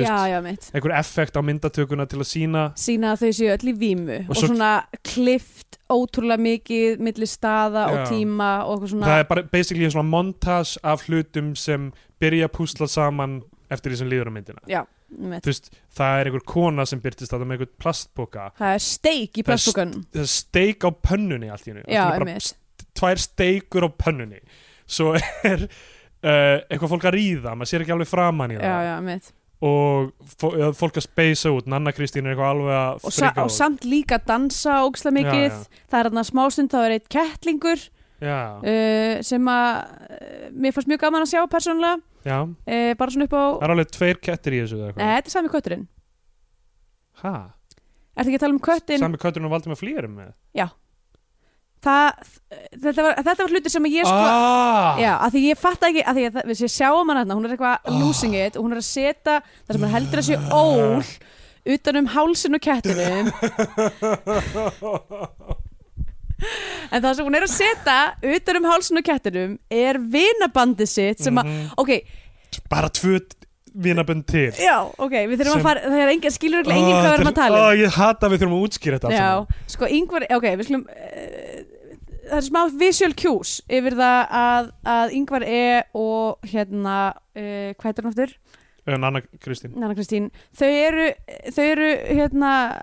já, veist, já, mitt einhver effekt á myndatökuna til að sína sína að þau séu öll í vímu og, Og svo- svona klift ótrúlega mikið milli staða og Já. tíma og eitthvað svona það er bara basically svona montage af hlutum sem byrja að púsla saman eftir því sem líður á myndina já, mitt þú veist, það er einhver kona sem byrtist þetta með einhver plastboka það er steik í Það er st- plastbúkan það er steik á pönnunni allt í hennu já, bara einmitt, st- tvær steikur á pönnunni svo er uh, eitthvað fólk að ríða, maður sér ekki alveg framan í já, það já, mitt og fó- eða fólk að speysa út Nanna Kristín er eitthvað alveg að og, sa frika og út samt líka dansa ógsla mikið Já, það er hann að smástund þá er eitt kettlingur já, uh, sem að uh, mér fannst mjög gaman að sjá persónulega já, uh, bara svona upp á það er alveg tveir kettir í þessu eða Nei, eitthvað þetta er sami kötturinn ha, Ertu ekki að tala um köttin? sami kötturinn og valdi með flýrum með Það, þetta, var, þetta var hluti sem ég sko ah, Já, af því ég fatt ekki, af því að það- við séum sjáum hann hérna, hún er eitthvað losing it og hún er að setja það sem hann heldur að sé ól utan um hálsin og kettinum en það sem hún er að setja utan um hálsin og kettinum er vinabandið sitt sem að, Mhm. ok, bara tvö vinabönd til Ah, já, ok, við þurfum að Sem- fara, það er engin, skilur ekki engin hvað við erum að tala um. Ó, ég hata að við þurfum að útskýra þetta allt Já, saman. sko yngvar, ok, við skulum uh, það er smá visual cues yfir það að, að Ingvar E og hérna, uh, hvað heitir hún aftur? en Anna Eh, Kristín Nanna Kristín, þau eru, þau eru hérna,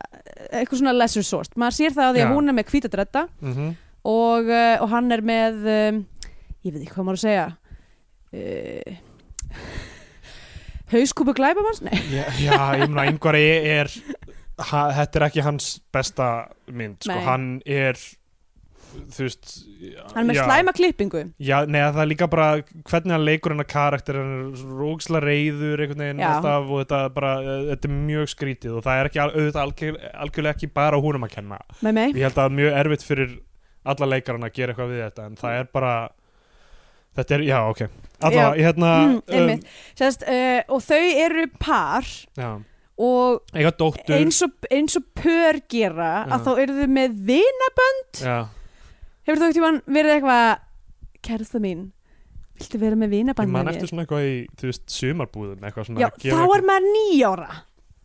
eitthvað svona lesser sourced. Maður sér það á því Já. að hún er með hvítadretta mm -hmm. og, uh, og hann er með, um, ég veit ekki hvað maður að segja, uh, hauskúpu glæbamanns? Nei, já, já, ég meina yngvar ég er ha, þetta er ekki hans besta mynd sko. Nei. hann er þú veist hann er með já. slæma klippingu. Já, neða það er líka bara hvernig hann leikur hennar karakter hann er róksla reyður einhvern veginn Já. alltaf og þetta er bara, eh, þetta er mjög skrítið og það er ekki al- auðvitað algjör, algjörlega ekki bara húnum að kenna. Með mig? Ég held að það er mjög erfitt fyrir alla leikarana að gera eitthvað við þetta en það er bara þetta er, já, ok. Alla, Já. ég hérna Mm, einmitt. Sérst, uh, og þau eru par já, og eiga dóttur eins og, eins og pör gera að Já. þá eru þau með vina já, hefur þú ekkert verið eitthvað kærasta mín, viltu vera með ég vinaband man með eftir mér? svona eitthvað í, þú veist, sumarbúðum eitthvað svona Já, að þá gera er maður nýjára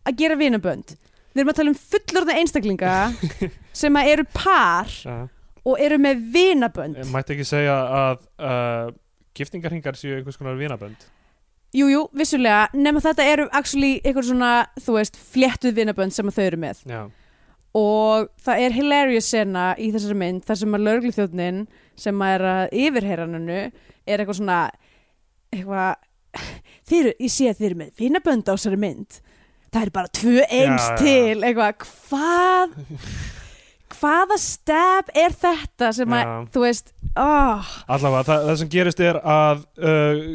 að gera vinabönd við erum að tala um fullorðna einstaklinga sem að eru par eitthvað- Já. og eru með vinabönd Mætti ekki segja að uh, giftingarhingar séu einhvers konar vinabönd Jú, jú, vissulega, nema þetta eru actually eitthvað svona, þú veist, fléttuð vinabönd sem að þau eru með Já, og það er hilarious sena í þessari mynd þar sem að lögregluþjóðnin sem að er að yfirheyranunu er eitthvað svona eitthvað þeir, eru- ég sé að þeir eru með vinabönd á þessari mynd það er bara tvö eins já. til eitthvað hvað hvaða stab er þetta sem að Já. þú veist oh, Allavega, það, það sem gerist er að uh,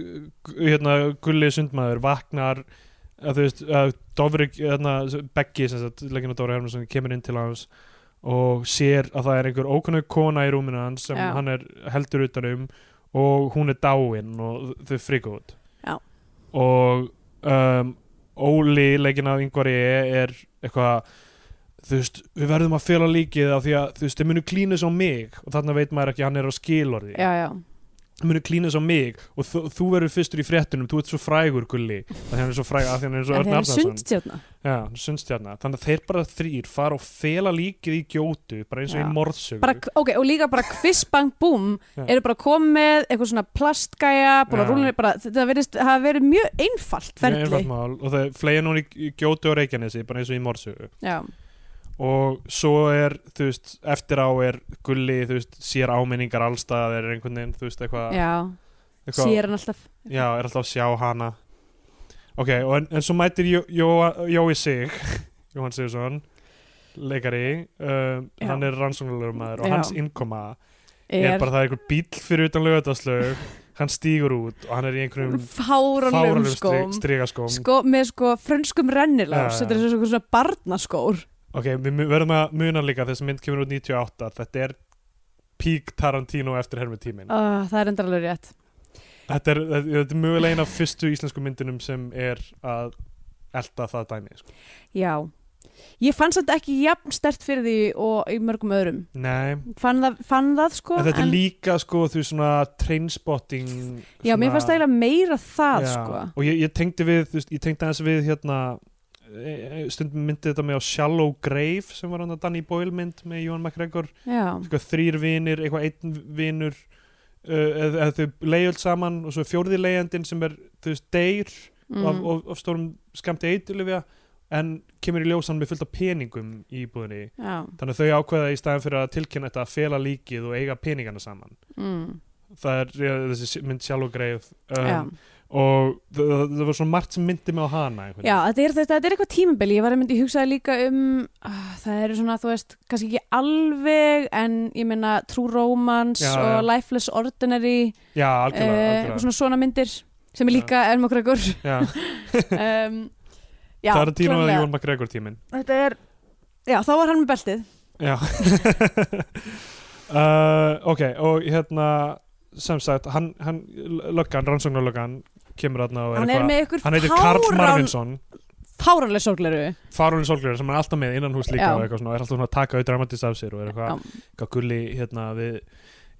gu- hérna, Gulli Sundmaður vaknar að þú veist, að Dofri hérna, Beggi, sem sagt, leggina Dóri Hermansson kemur inn til hans og sér að það er einhver ókunnug kona í rúminu hans sem Já. hann er heldur utan um og hún er dáin og þau frika út Já. og um, Óli leggin af yngvari er eitthvað þú veist, við verðum að fela líkið af því að þú veist, þau munu klínus á mig og þarna veit maður ekki að hann er á skilorði já, já, munu klínast á mig og þú, þú verður fyrstur í fréttunum, þú ert svo frægur gulli að hann er svo frægur, að hann er svo en Örn þeir eru Arnarsson sundstjörna Já, hann er sundstjarna, þannig að þeir bara þrýr fara og fela líkið í gjótu bara eins og Já. í morðsögu bara, ok, og líka bara quiz bang boom Já. eru bara komið, eitthvað svona plastgæja bara Já. rúlinni, bara, þetta verðist hafa verið mjög einfalt Mjög ferli einfalt mál og þau flega núna í, í gjótu og reikjanesi bara eins og í morðsögu já, og svo er, þú veist, eftir á er gulli, þú veist, sér áminningar allstaðar er einhvern veginn, þú veist, eitthvað já, eitthvað- sér hann alltaf Já, er alltaf að sjá hana Ok, og en, en svo mætir Jó- Jó- Jói Sig Jóhann Sigursson leikari, um, Já. hann er rannsóknulegur maður og Já. hans innkoma er, er, bara það er einhver bíll fyrir utan lögutaslaug hann stígur út og hann er í einhverjum fáranlegum stri- skóm strigaskóm sko, með sko frönskum rennilags Já, þetta er já. svona, svona barnaskór Ok, við mu- verðum að muna líka þess að mynd kemur út 98 þetta er pík Tarantino eftir hermið tímin Ah, það er enda alveg rétt þetta, er, þetta er mögulega eina af fyrstu íslensku myndunum sem er að elta það dæmi sko. já, ég fann þetta ekki jafn stert fyrir því og í mörgum öðrum Nei, fann það, fann það sko En þetta er líka sko þú veist, svona trainspotting já, mér fannst eiginlega meira það Já, sko Og ég, ég tengdi við, þú veist, ég tengdi aðeins við hérna e- e- stundum myndi þetta með á Shallow Grave sem var hann að Danny Boyle mynd með Johan McGregor já, eitthvað þrýr vinir, eitthvað einn vinur uh, eða eð þau leiðjöld saman og svo fjórði leiðjandinn sem er þú veist, deyr mm. af, af, af stórum skamti eitilifja en kemur í ljósan með fullt af peningum í búðinni já, þannig að þau ákveða í staðin fyrir að tilkynna þetta að fela líkið og eiga peningana saman mm. það er ja, þessi mynd sjálf og greið já. um, og það, það það var svona margt sem myndi mig á hana einhvern Já, þetta er, þetta, þetta er eitthvað tímabili, ég var einmitt, ég hugsaði líka um, uh, það eru svona, þú veist, kannski ekki alveg, en ég meina True Romance Já, og já. Lifeless Ordinary, veginn. já eh, algjörlega, eitthvað algjörlega. svona svona myndir, sem er Já. líka Elma Gregor. Já, Um, já, það er tíma að klárlega. Jón McGregor tímin Þetta er, já, þá var hann með beltið. já uh, ok, og hérna sem sagt, hann, hann löggan, rannsóknarlöggan kemur þarna og Hann er eitthvað- með ykkur hann heitir Karl fáran, Marvinsson fáranlega sorgleru. farulinn sólglegar sem hann er alltaf með innan hús líka Já. og eitthvað svona, og er alltaf svona að taka auð dramatist af sér og er eitthvað Já, hvað gulli hérna við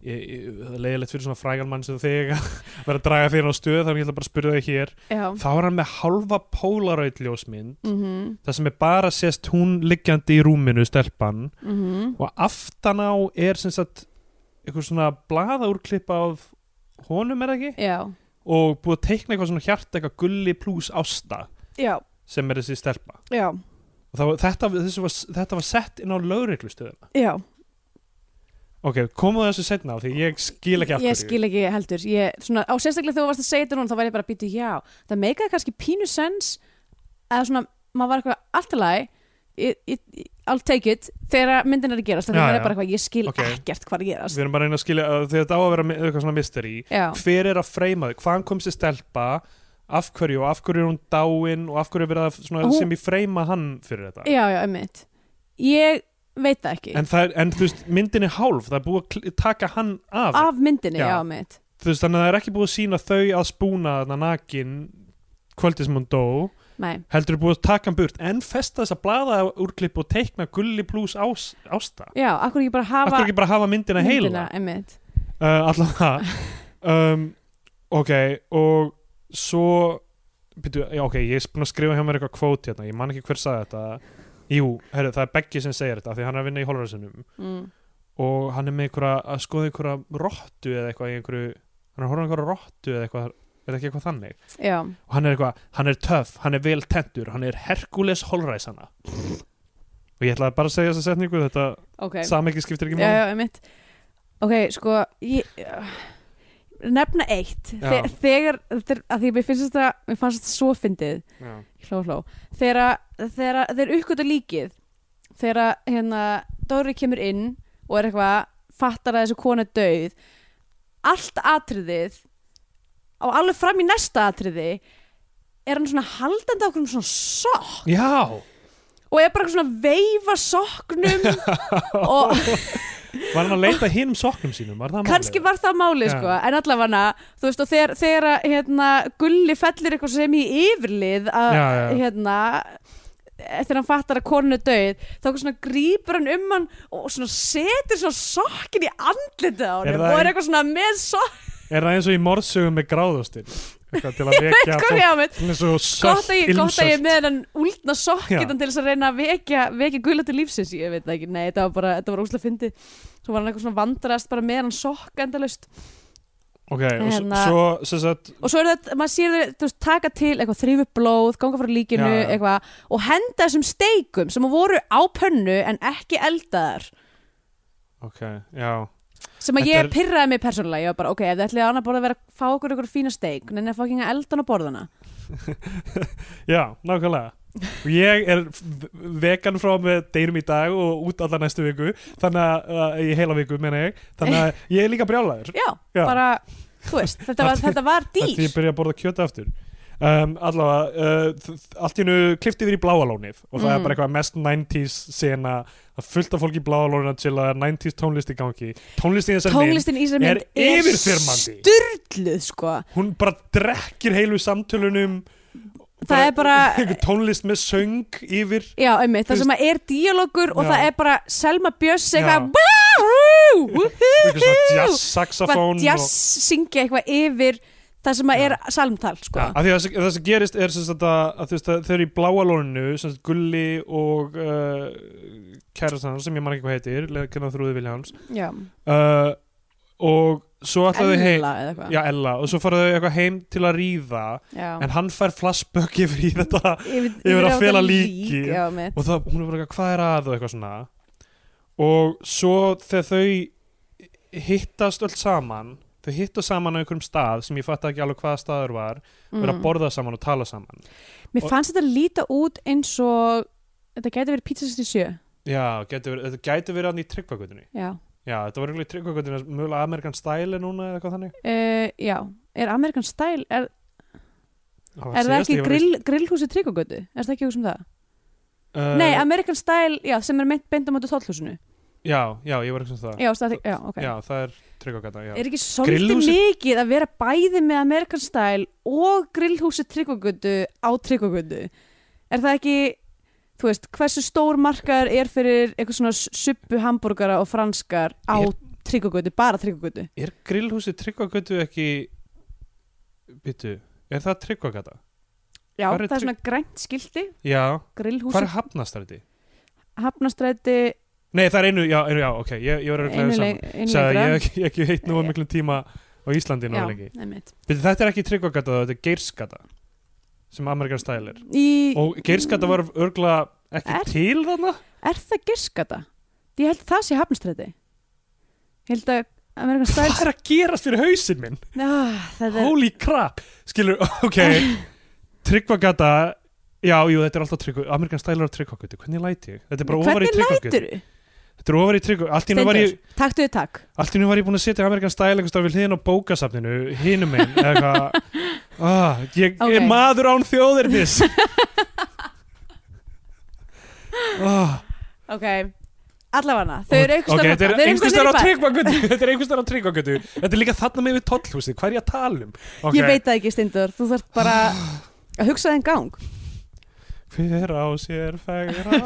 ég, ég, það er leiðilegt fyrir svona frægan mann sem þig að vera að draga þér á stöð þannig ég ætla bara að spyrja þig hér já. þá er hann með halva polaroid ljósmynd Mm það sem er bara sést hún liggjandi í rúminu stelpan mm og aftan á er sem sagt eitthvað svona blaða úrklippa af honum er það ekki já, og búið að teikna eitthvað svona hjarta eitthvað gulli pluss ásta já, sem er þessi stelpa já, og það, var- þetta, þessi var, þetta var sett inn á lögreglustöðuna já ok, komuðu þessu setna á því ég skil ekki af ég skil ekki heldur ég, svona, á sérstaklega þegar þú varst að segja þetta núna þá væri ég bara að býta já, það meikaði kannski pínu sens eða svona, maður var eitthvað allt í lagi Ég- ég- I'll take it þegar myndin er að gerast Já, þannig að já. bara eitthvað, ég skil Ok. ekkert hvað er að gerast við erum bara að reyna að skilja að þetta á að vera mi- eitthvað svona mystery já, hver er að freyma þig, hvaðan kom sér stelpa af hverju og af hverju er hún dáin og af hverju er verið að svona, Hún- sem ég freyma hann fyrir þetta já, já, einmitt ég veit það ekki en, það er, en þú veist, myndin er hálf það er búið að kl- taka hann af, af myndinni, Já. já, einmitt þú veist, þannig að það er ekki búið að sína þau að spúna þarna nakin kvöldið sem hún dó Nei. heldur er búið að taka hann burt en festa þess að blaða úrklipp og teikna gulli pluss ás, ásta já, akkur ekki bara af hafa hverju ekki bara hafa myndina heila einmitt uh, allan það um, ok og svo byrju, já, ok, ég er búin að skrifa hjá mér eitthvað kvót hérna, ég man ekki hver sagði þetta jú, herru, það er Beggi sem segir þetta af því hann er að vinna í holrarsunum mm. og hann er með einhverja, að skoða einhverja rottu eða eitthvað í einhverju hann er að horfa á einhverja rottu eða eitthvað eða ekki eitthvað þannig já, og hann er eitthvað, hann er töff, hann er vel tentur hann er Herkules holræsana og ég ætlaði bara að segja þessa setningu þetta ok okay. samekki skiptir ekki já, máli já, einmitt ok, sko ég, uh, nefna eitt Já. Þe, þegar, þegar, að því mér finnst þetta mér fannst þetta svo fyndið Já. hló, hló, þegar að- þegar að- þeir uppgötu líkið þegar að, hérna, Dóri kemur inn og er eitthvað, fattar að þessu konu er döið allt atriðið á alveg fram í næsta atriði er hann svona haldandi á okkur um svona sokk já, og er bara eitthvað svona að veifa sokknum og Var hann að leita hinum sokknum sínum? Var það kannski var það máli Já. sko, en allavega þú veist og þegar, þegar að, hérna, gulli fellir eitthvað sem í yfirlið að Já, já. hérna eftir hann fattar að konu er döið þá eitthvað svona grípur hann um hann og svona setur svona sokkin í andlitið á hann Er það og er ein- eitthvað svona með sokk Er það eins og í morðsögum með gráðastinn? Eitthvað til að vekja hvað fólk ég á mitt Svona svo sölt, gott að ég, gott að ég er með hann úlna Já. sokkitan til þess að reyna að vekja, vekja gulla til lífsins, ég veit það ekki, nei þetta var bara þetta var úslega fyndið, svo var hann eitthvað svona vandrast bara með hann sokk endalaust Ok, og s- Hérna- svo, sem sagt og svo er þetta, maður sér þau þú veist, taka til eitthvað þrýfu blóð, ganga frá líkinu Já, já. eitthvað, og henda þessum steikum sem voru á pönnu en ekki eldaðar Ok, já sem að Þetta ég er- pirraði mig persónulega, ég var bara ok, ef þið ætlið á annað borð að vera að fá okkur ykkur fína steik en að fá ekki eldan á borðana Já, nákvæmlega Og Ég er v- vegan frá með deynum í dag og út alla næstu viku Þannig að, uh, í heila viku, meina ég Þannig að ég er líka brjálæður já, Já. bara, þú veist, þetta var, þetta var Þetta dýr ég byrja að borða kjöta aftur um, Allavega, uh, þ- þ- allt í hennu klifti yfir í bláalónið og það Mm. er bara eitthvað mest 90s sena að fullt af fólki í bláalónið til að 90s tónlist í gangi Tónlist í þessar mynd, tónlistin í þessari er mynd er yfirþyrmandi. styrluð sko, hún bara drekkir heilu samtölunum það er bara einhver tónlist með söng yfir já, einmitt, Þú það sem að er díalogur og Já. það er bara Selma Björns Já. eitthvað "Woo, woohoo, einhver svona jazz hvað saxofón jazz sko. syngja eitthvað yfir það sem að Já. er salmtal og, sko. ja, af því að það sem- það sem gerist er sem sagt að, að þú veist að þau eru í bláalóninu sem sagt Gulli og uh, kærastan sem ég man ekki hvað heitir kennan þrúði Viljáms já, uh, og svo ætlaðu heim Ella eða eitthvað já, Ella, og svo faraðu þau eitthvað heim til að ríða já. en hann fær flashback yfir í þetta yfir, yfir að á þetta fela líki. lík, já, mitt. og það, hún er bara eitthvað, hvað er að og eitthvað svona og svo þegar þau hittast öll saman þau hittast saman á einhverjum stað sem ég fatt ekki alveg hvaða staður var vera að mm. borða saman og tala saman mér fannst þetta líta út eins og þetta gæti verið pizza 67 já, getur, verið- þetta gæti verið hann í tryggvakutunni já, já, þetta var eiginlega í tryggvakutunni mjögulega Amerikan stæli núna eða eitthvað þannig uh, já er American Style, er, var er það síðast ekki ég var í- grill, grillhúsi tryggogötu, er það ekki húsum það? Uh, Nei, American Style, já, sem er meint beint á mótu þóllhúsinu. já, já, ég var ekki sem það Já, það, já, ok. já, það er tryggvakata já. Er ekki svolítið Grillhúsið- mikið að vera bæði með American Style og grillhúsi tryggogötu á tryggogötu? Er það ekki, þú veist, hversu stór markaður er fyrir eitthvað svona suppu hambúrgara og franskar á Er- tryggogötu, bara tryggogötu? Er grillhúsi Tryggvagötu ekki Byttu, er það Tryggvagata? Já, Hvar það er er trygg- svona grænt skilti, Já, hvað grillhúsi, er hafnastræti? hafnastræti Nei, það er einu, já, einu, já ok, ég, ég var að glæða saman. Einlegra Sæði, ég hef ekki heitt nú um miklum tíma á Íslandi nú Já, lengi. einmitt Byrju, þetta er ekki tryggvagata, þetta er geirsgata sem Amerikan stæl er. Í- Og geirsgata var örgla ekki Er- til þarna? Er það gerskata? Ég held að það sé hafnstræti Ég held að Amerikan Style Hvað er að gerast fyrir hausinn minn? ah, Það er Holy crap! Skilur, ok, tryggvagata, já, jú, þetta er alltaf tryggvagata, Amerikan stæl er á tryggvagata, hvernig læti ég? Þetta er bara ofar í Hvernig tryggvagata. lætur þú? Þetta er ofar í tryggvagata, allt í nú var ég... taktu þið takk Allt í nú var ég búin að setja Amerikan Style einhvers staðar við hliðin á bókasafninu, hinum einn eða eitthvað ah, ég Ok. er maður án þjóðirnis ah, Ok, allavana, þau eru Ok, einhverstað þetta er einhverstaðar á tryggvagötu Þetta er einhverstaðar á tryggvagötu Þetta er líka þarna með við tollhúsið, hvað er ég að tala um? Okay. Ég veit það ekki, Stindur, þú þarf bara að hugsa þeim gang Hver á sér fegra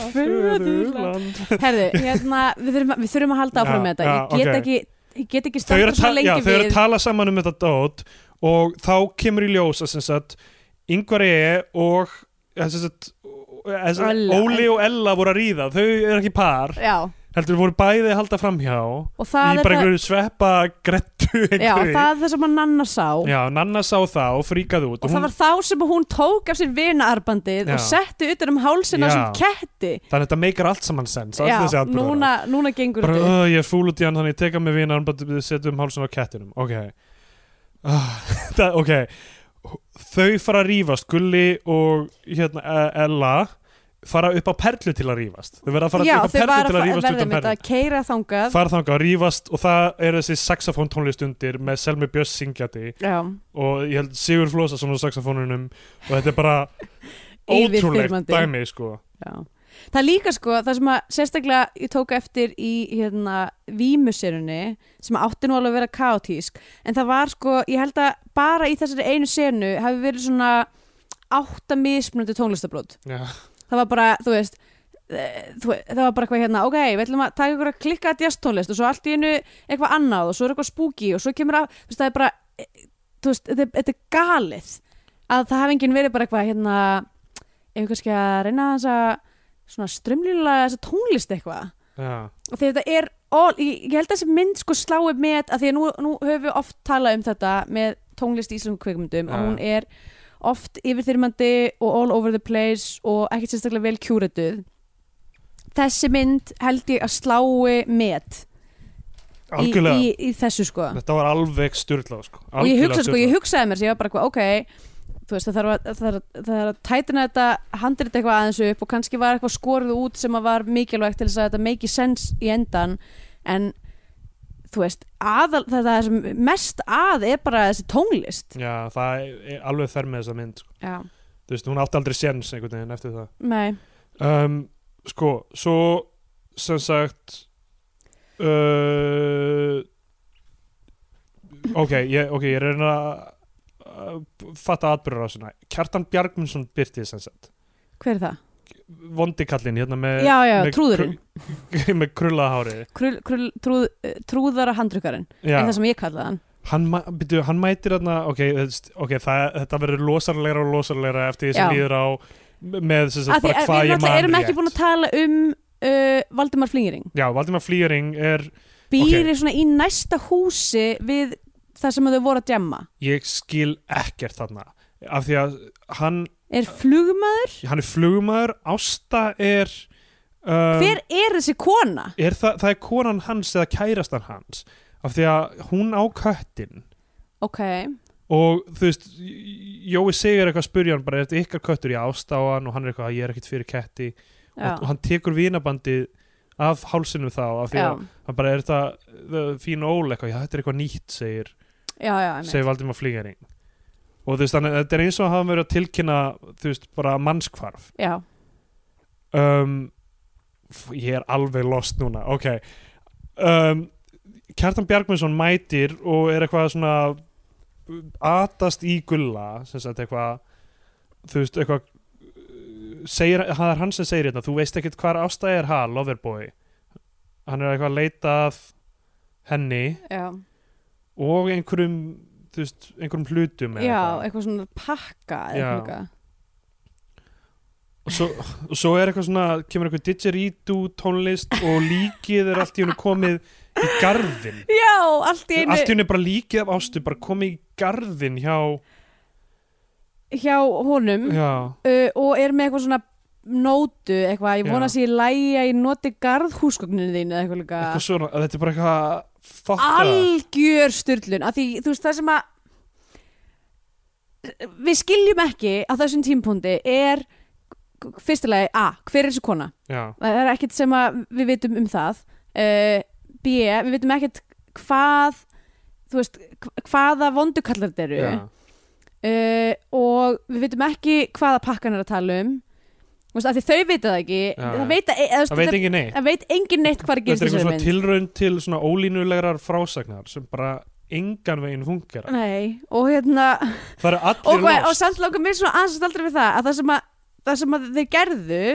föðurland Herðu, hérna, við þurfum, að- við þurfum að halda áfram Já, með þetta Ég já, get ok. ekki, ég get ekki Þau standa eru að svo ta- já, lengi þau eru við að tala saman um þetta dót og þá kemur í ljós að sem sagt yngvar ég og að sem sagt, að sem sagt, Olla. Óli og Ella voru að ríða þau eru ekki par, Já, heldur voru bæði að halda framhjá og í það er bara það einhverju sveppa grettu Já, einhverju það er það sem að Nanna sá Já, Nanna sá það og fríkaði út Og það var þá sem hún tók af sér vinaarbandið Já. og setti utan um hálsina Já. sem ketti. þannig að þetta meikar allt saman sens allt þessi Já, atburðar. núna, núna gengur bara, þetta. uh, ég er fúl út í hann þannig ég teka mig vinan bara setja um hálsun á kettinum ok uh, það, ok þau fara að rífast Gulli og hérna, eh, Ella fara upp á perlu til að rífast þau verða að uh, fara Já, upp á þau perlu var til að að fa- rífast verða út með um perlu þetta að keira þangað. fara þangað að rífast og það er þessi saxofón tónlist undir með Selmi Björns syngjandi Já, og ég held Sigur Flósason á saxofónunum og þetta er bara Yfirþyrmandi. ótrúlegt dæmi sko já. Það er líka sko, það sem að sérstaklega ég tók eftir í hérna vímuserunni sem átti nú alveg að vera kaotísk en það var sko, ég held að bara í þessari einu senu hafi verið svona átta mismunandi tónlistabrot Já. það var bara, þú veist eh, þú- það var bara eitthvað hérna, ok, við ætlum að taka ykkur að klikka að jazztónlist og svo allt í einu eitthvað annað og svo er eitthvað spooky og svo kemur að, þú veist, það er bara eh, þú veist, þetta, er- þetta er galið að það hafi enginn verið bara eitthvað hérna ef við kannski að reyna þess að svona strömlýla þessa tónlist eitthvað Já. og því þetta er all, ég, ég held að þessi mynd sko slái með að því að nú, nú höfum við oft talað um þetta með tónlist í íslensku kvikmyndum Ja. að hún er oft yfirþyrmandi og all over the place og ekkert sérstaklega vel kjúretuð þessi mynd held ég að slái með í, algjörlega í, í þessu sko Þetta var alveg styrlað sko. og ég Algjörlega hugsa sko, ég sturlað. hugsaði mér sem ég var bara eitthvað, ok þú veist, það þarf að, það þarf að, það þarf að tætina þetta handrið eitthvað aðeins upp og kannski var eitthvað skorðu út sem að var mikilvægt til þess að þetta make sense í endan en þú veist, aðal, það, það er sem mest að er bara þessi tónlist Já, það er alveg þær með þessa mynd sko. Já, Þú veist, hún átti aldrei séns einhvern veginn eftir það nei, um, Sko, svo sem sagt uh, Ok, ég, okay, ég reyna að uh, fatta atbyrður á svona Kjartan Bjargmundsson byrtið sem sagt hver er það? vondi kallinn hérna með já, já, með trúðurinn kru- með krullahári krull, krull, trúð, eh, Trúðara handrukkarinn Já, er það sem ég kallaði hann hann, ma- byrju, hann mætir þarna ok, þetta, okay það, þetta verður losarleira og losarleira eftir því sem Já. líður á með þess Af að því bara að hvað Við ég man náttúrulega erum ekki búin að tala um uh, Valdimar Flingering Já, Valdimar Flýring er býr Ok. í svona í næsta húsi við það sem þau voru að djemma ég skil ekkert þarna af því að hann, er flugmaður, hann er flugmaður Ásta er um, hver er þessi kona? er það, það er konan hans eða kærastan hans af því að hún á köttin ok, og þú veist Jói segir eitthvað að spyrja hann bara er þetta ykkar köttur í Ásta á hann og hann er eitthvað að ég er ekkert fyrir ketti já, og, og hann tekur vinabandi af hálsinum þá af því já, að hann bara er þetta the- fín ól eitthvað, já þetta er eitthvað nýtt segir, já, já, einmitt. segir Valdimar Flígering og þú veist þannig að þetta er eins og að hafa verið að tilkynna þú veist bara mannskvarf já. um, f- ég er alveg lost núna, ok um, Kjartan Bjargmundsson mætir og er eitthvað svona uh, atast í gulla sem sagt eitthvað þú veist eitthvað uh, segir, það er hann sem segir hérna, þú veist ekkert hvar ástæði er ha, Loverboy hann er eitthvað að leita að henni já, og einhverjum þú veist, einhverjum hlutum eða já eitthvað. eitthvað svona pakka Já. eitthvað. og svo, og svo er eitthvað svona kemur eitthvað didgeridoo tónlist og líkið er allt í hennu komið í garðin Já, allt í einu allt í hennu er bara líkið af ástu bara komið í garðin hjá hjá honum já, uh, og er með eitthvað svona nótu, eitthvað, ég vona Já. að sé í lagi að ég noti garðhúsgögninu þín eða eitthvað líka eitthvað svona að þetta er bara eitthvað fatta algjör styrlun af því þú veist það sem að við skiljum ekki á þessum tímpúndi er fyrstilega A, hver er þessi kona já, það er ekkert sem að við vitum um það uh, B, við vitum ekkert hvað þú veist, hv- hvaða vondukallar þetta eru já, uh, og við vitum ekki hvaða pakkan er að tala um Þú veist, af því þau vita það ekki Já, það já. veit, að, eða, þú veist, það veit engin neitt það veit engin neitt hvað er að þetta gerist í er eitthvað þessari svona mynd. tilraun til svona ólínulegrar frásagnar sem bara engan veginn funkar Nei, og hérna það eru allir og, hvað, og lost samt langar mér svona aðeins að staldra við það að það sem að, það sem að þeir gerðu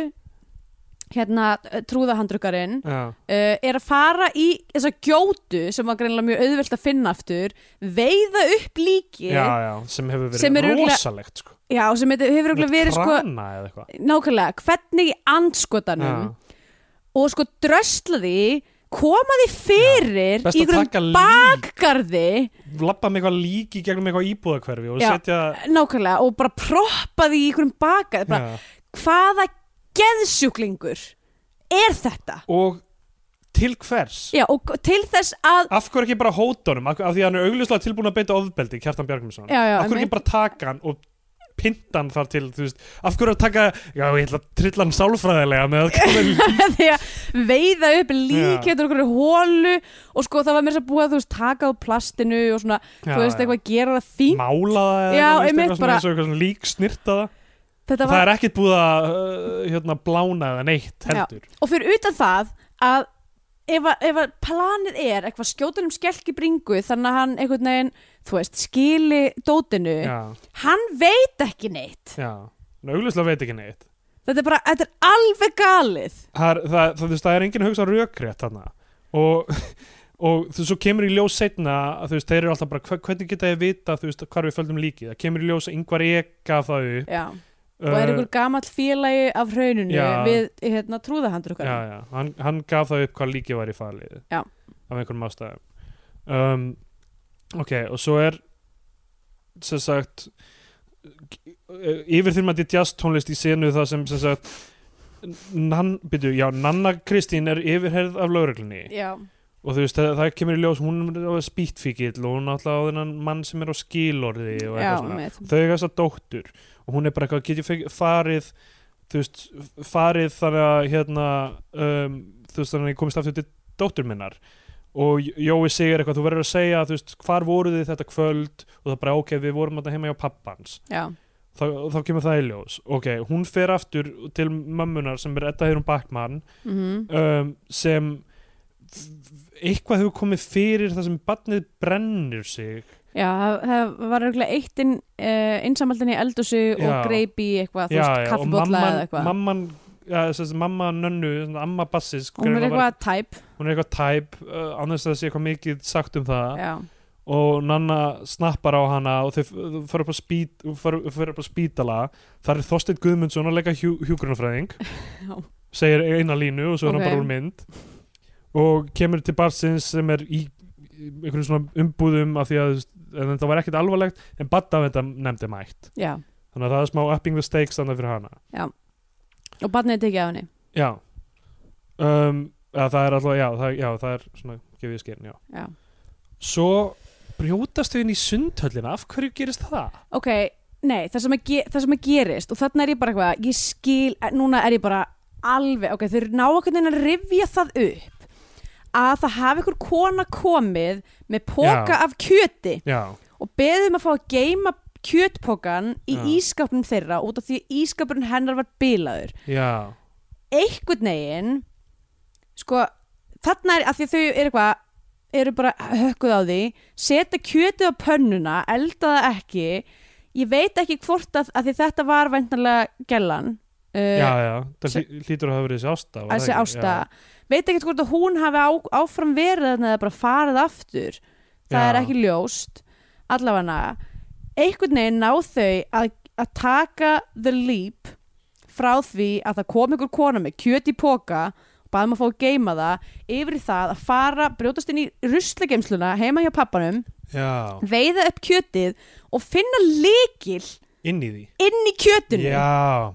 hérna trúðahandrukkarinn uh, já, er að fara í þessa gjótu sem var greinilega mjög auðvelt að finna aftur veiða upp líkið já, já, sem hefur verið Sem er örugglega- rosalegt sko. já, sem þetta hefur örugglega verið sko, krana eða eitthvað nákvæmlega, hvernig í Já. andskotanum og sko drösla því koma því fyrir Best í að taka einhverjum lík. bakgarði labba með eitthvað líki gegnum eitthvað íbúðakverfi og Já. setja nákvæmlega og bara proppa því í einhverjum bakgarði bara, já, hvaða geðsjúklingur er þetta? og til hvers Já, og til þess að af hverju ekki bara hóta honum af, af því að hann er augljuslega tilbúin að beita ofbeldi Kjartan Bjargmundsson, Já, já, af hverju ekki bara taka hann og pinta hann þar til þú veist, af hverju að taka, já ég ætla að trilla hann sálfræðilega með að koma í- því að veiða upp lík Já. hérna okkur hólu og sko það var mér þess að búa þú veist takað úr plastinu og svona, Já, þú veist, já. eitthvað gera það fín mála það Já, eða þú veist, einmitt, eitthvað svona bara- eins og eitthvað svona lík snirta það þetta það var, er ekkert búið að uh, hérna, blána eða neitt heldur og fyrir utan það að ef, að- ef að planið er eitthvað skjóta um skelki bringu þannig að hann einhvern veginn, þú veist, skili dótinu, já, hann veit ekki neitt, já, en augljuslega veit ekki neitt þetta er bara þetta er alveg galið það, er- það, það, það, það er enginn að hugsa rökrétt þarna og, og þú veist, svo kemur í ljós setna að þú veist, þeir eru alltaf bara hva- hvernig geta ég vita þú veist, hvar við földum líkið það kemur í ljós að yngvar ég gaf það upp uh, já. og er einhver gamall félagi af hrauninu Eh, Já. við hérna, trúðahandur já, já, hann, hann gaf það upp hvað líkið var í farlið Já. af einhverjum ástæðum um, ok, og svo er sem sagt yfirþyrmandi jazz tónlist í senu það sem sem sagt nan, byrju, já, Nanna Kristín er yfirherð af lauruglunni já, og þú veist, það, það kemur í ljós hún er á spýtfíkil og hún er alltaf á þennan mann sem er á skilorði já, og eitthvað svona með. þau eiga þessa dóttur og hún er bara eitthvað, get ég fengið- farið þú veist, farið þannig að hérna, um, þú veist, þannig að ég komist aftur til dóttur minnar og J- Jói segir eitthvað, þú verður að segja þú veist, hvar voruð þið þetta kvöld og það bara, ok, við vorum þetta heima hjá pappans já, þá, þá kemur það í ljós ok, hún fer aftur til mömmunar sem er Edda Heirum Bakmann mm um, sem eitthvað hefur komið fyrir það sem barnið brennir sig já það- það var eiginlega eitt inn, uh, innsamaldin í eldhúsu og Já. greip í eitthvað, þú veist, og kaffibólla mamman, eða eitthvað mamman, ja, þessi, mamma nönnu, svona amma bassis hún er greinilega var- eitthvað tæp hún er eitthvað tæp uh, annars að það sé eitthvað mikið sagt um það já, og nanna snappar á hana og þau þau fara upp á, spít, fara, fara upp á spítala þar er Þorsteinn Guðmundsson að leika hjú, hjúgrunafræðing Já. segir eina línu og svo er Ok. hann bara úr mynd og kemur til barsins sem er í í einhverjum svona umbúðum af því að en þetta var ekkert alvarlegt en badda þetta nefndi mætt já, þannig að það er smá upping the stakes þannig fyrir hana og barnið er tekið af henni já um, eða, það er alltaf, já það, já, það er svona gefið skinn, já já. svo brjótast þau inn í sundhöllina af hverju gerist það? ok, nei, það sem, að ge- það sem að gerist og þarna er ég bara eitthvað, ég skil eh, núna er ég bara alveg, ok, þeir ná okkur að rifja það upp að það hafi ykkur kona komið með póka af kjöti já, og beðum að fá að geima kjötpokan í Já. ískapnum þeirra út af því að ískapurinn hennar var bilaður Uh, já, einhvern veginn sko, þarna er að því að þau eru eitthvað eru bara hökkuð á því setja kjötið á pönnuna elda það ekki ég veit ekki hvort að, að því þetta var væntanlega gellan já, uh, já það sem- hlý- hlýtur að hafa verið þessi ásta var það þessi ekki? ásta veit ekki hvort að hún hafi á, áfram verið þarna eða bara farið aftur það Já. er ekki ljóst allavega einhvern veginn ná þau að, að taka the leap frá því að það kom einhver kona með kjöt í póka baðum um að fá að geima það yfir í það að fara, brjótast inn í ruslageimsluna heima hjá pappanum já, veiða upp kjötið og finna lykil inn í því inn í kjötinu já,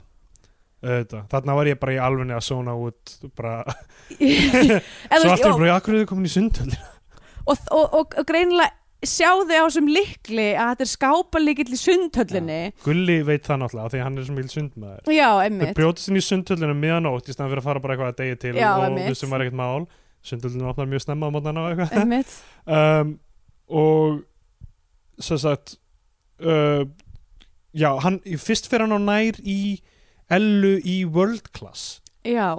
auðvitað þarna var ég bara í alvunni að sóna út bara, Eða, svo þú veist, aftur bara, akkur er þið komin í sundhöll og, og, og, og greinilega sjá þau á þessum lykli að þetta er skápalíkill í sundhöllinni Gulli veit það náttúrulega, af því að hann er sem mjög sundmaður já, Þau einmitt brjótast inn í sundhöllinu miðanótt í staðan fyrir að fara bara eitthvað að degi til Já, og einmitt. þessum var ekkert mál sundhöllinu opnar mjög snemma á mótana og eitthvað einmitt um, og sem sagt uh, já, hann, fyrst fyrir hann á nær í Ellu í World Class já,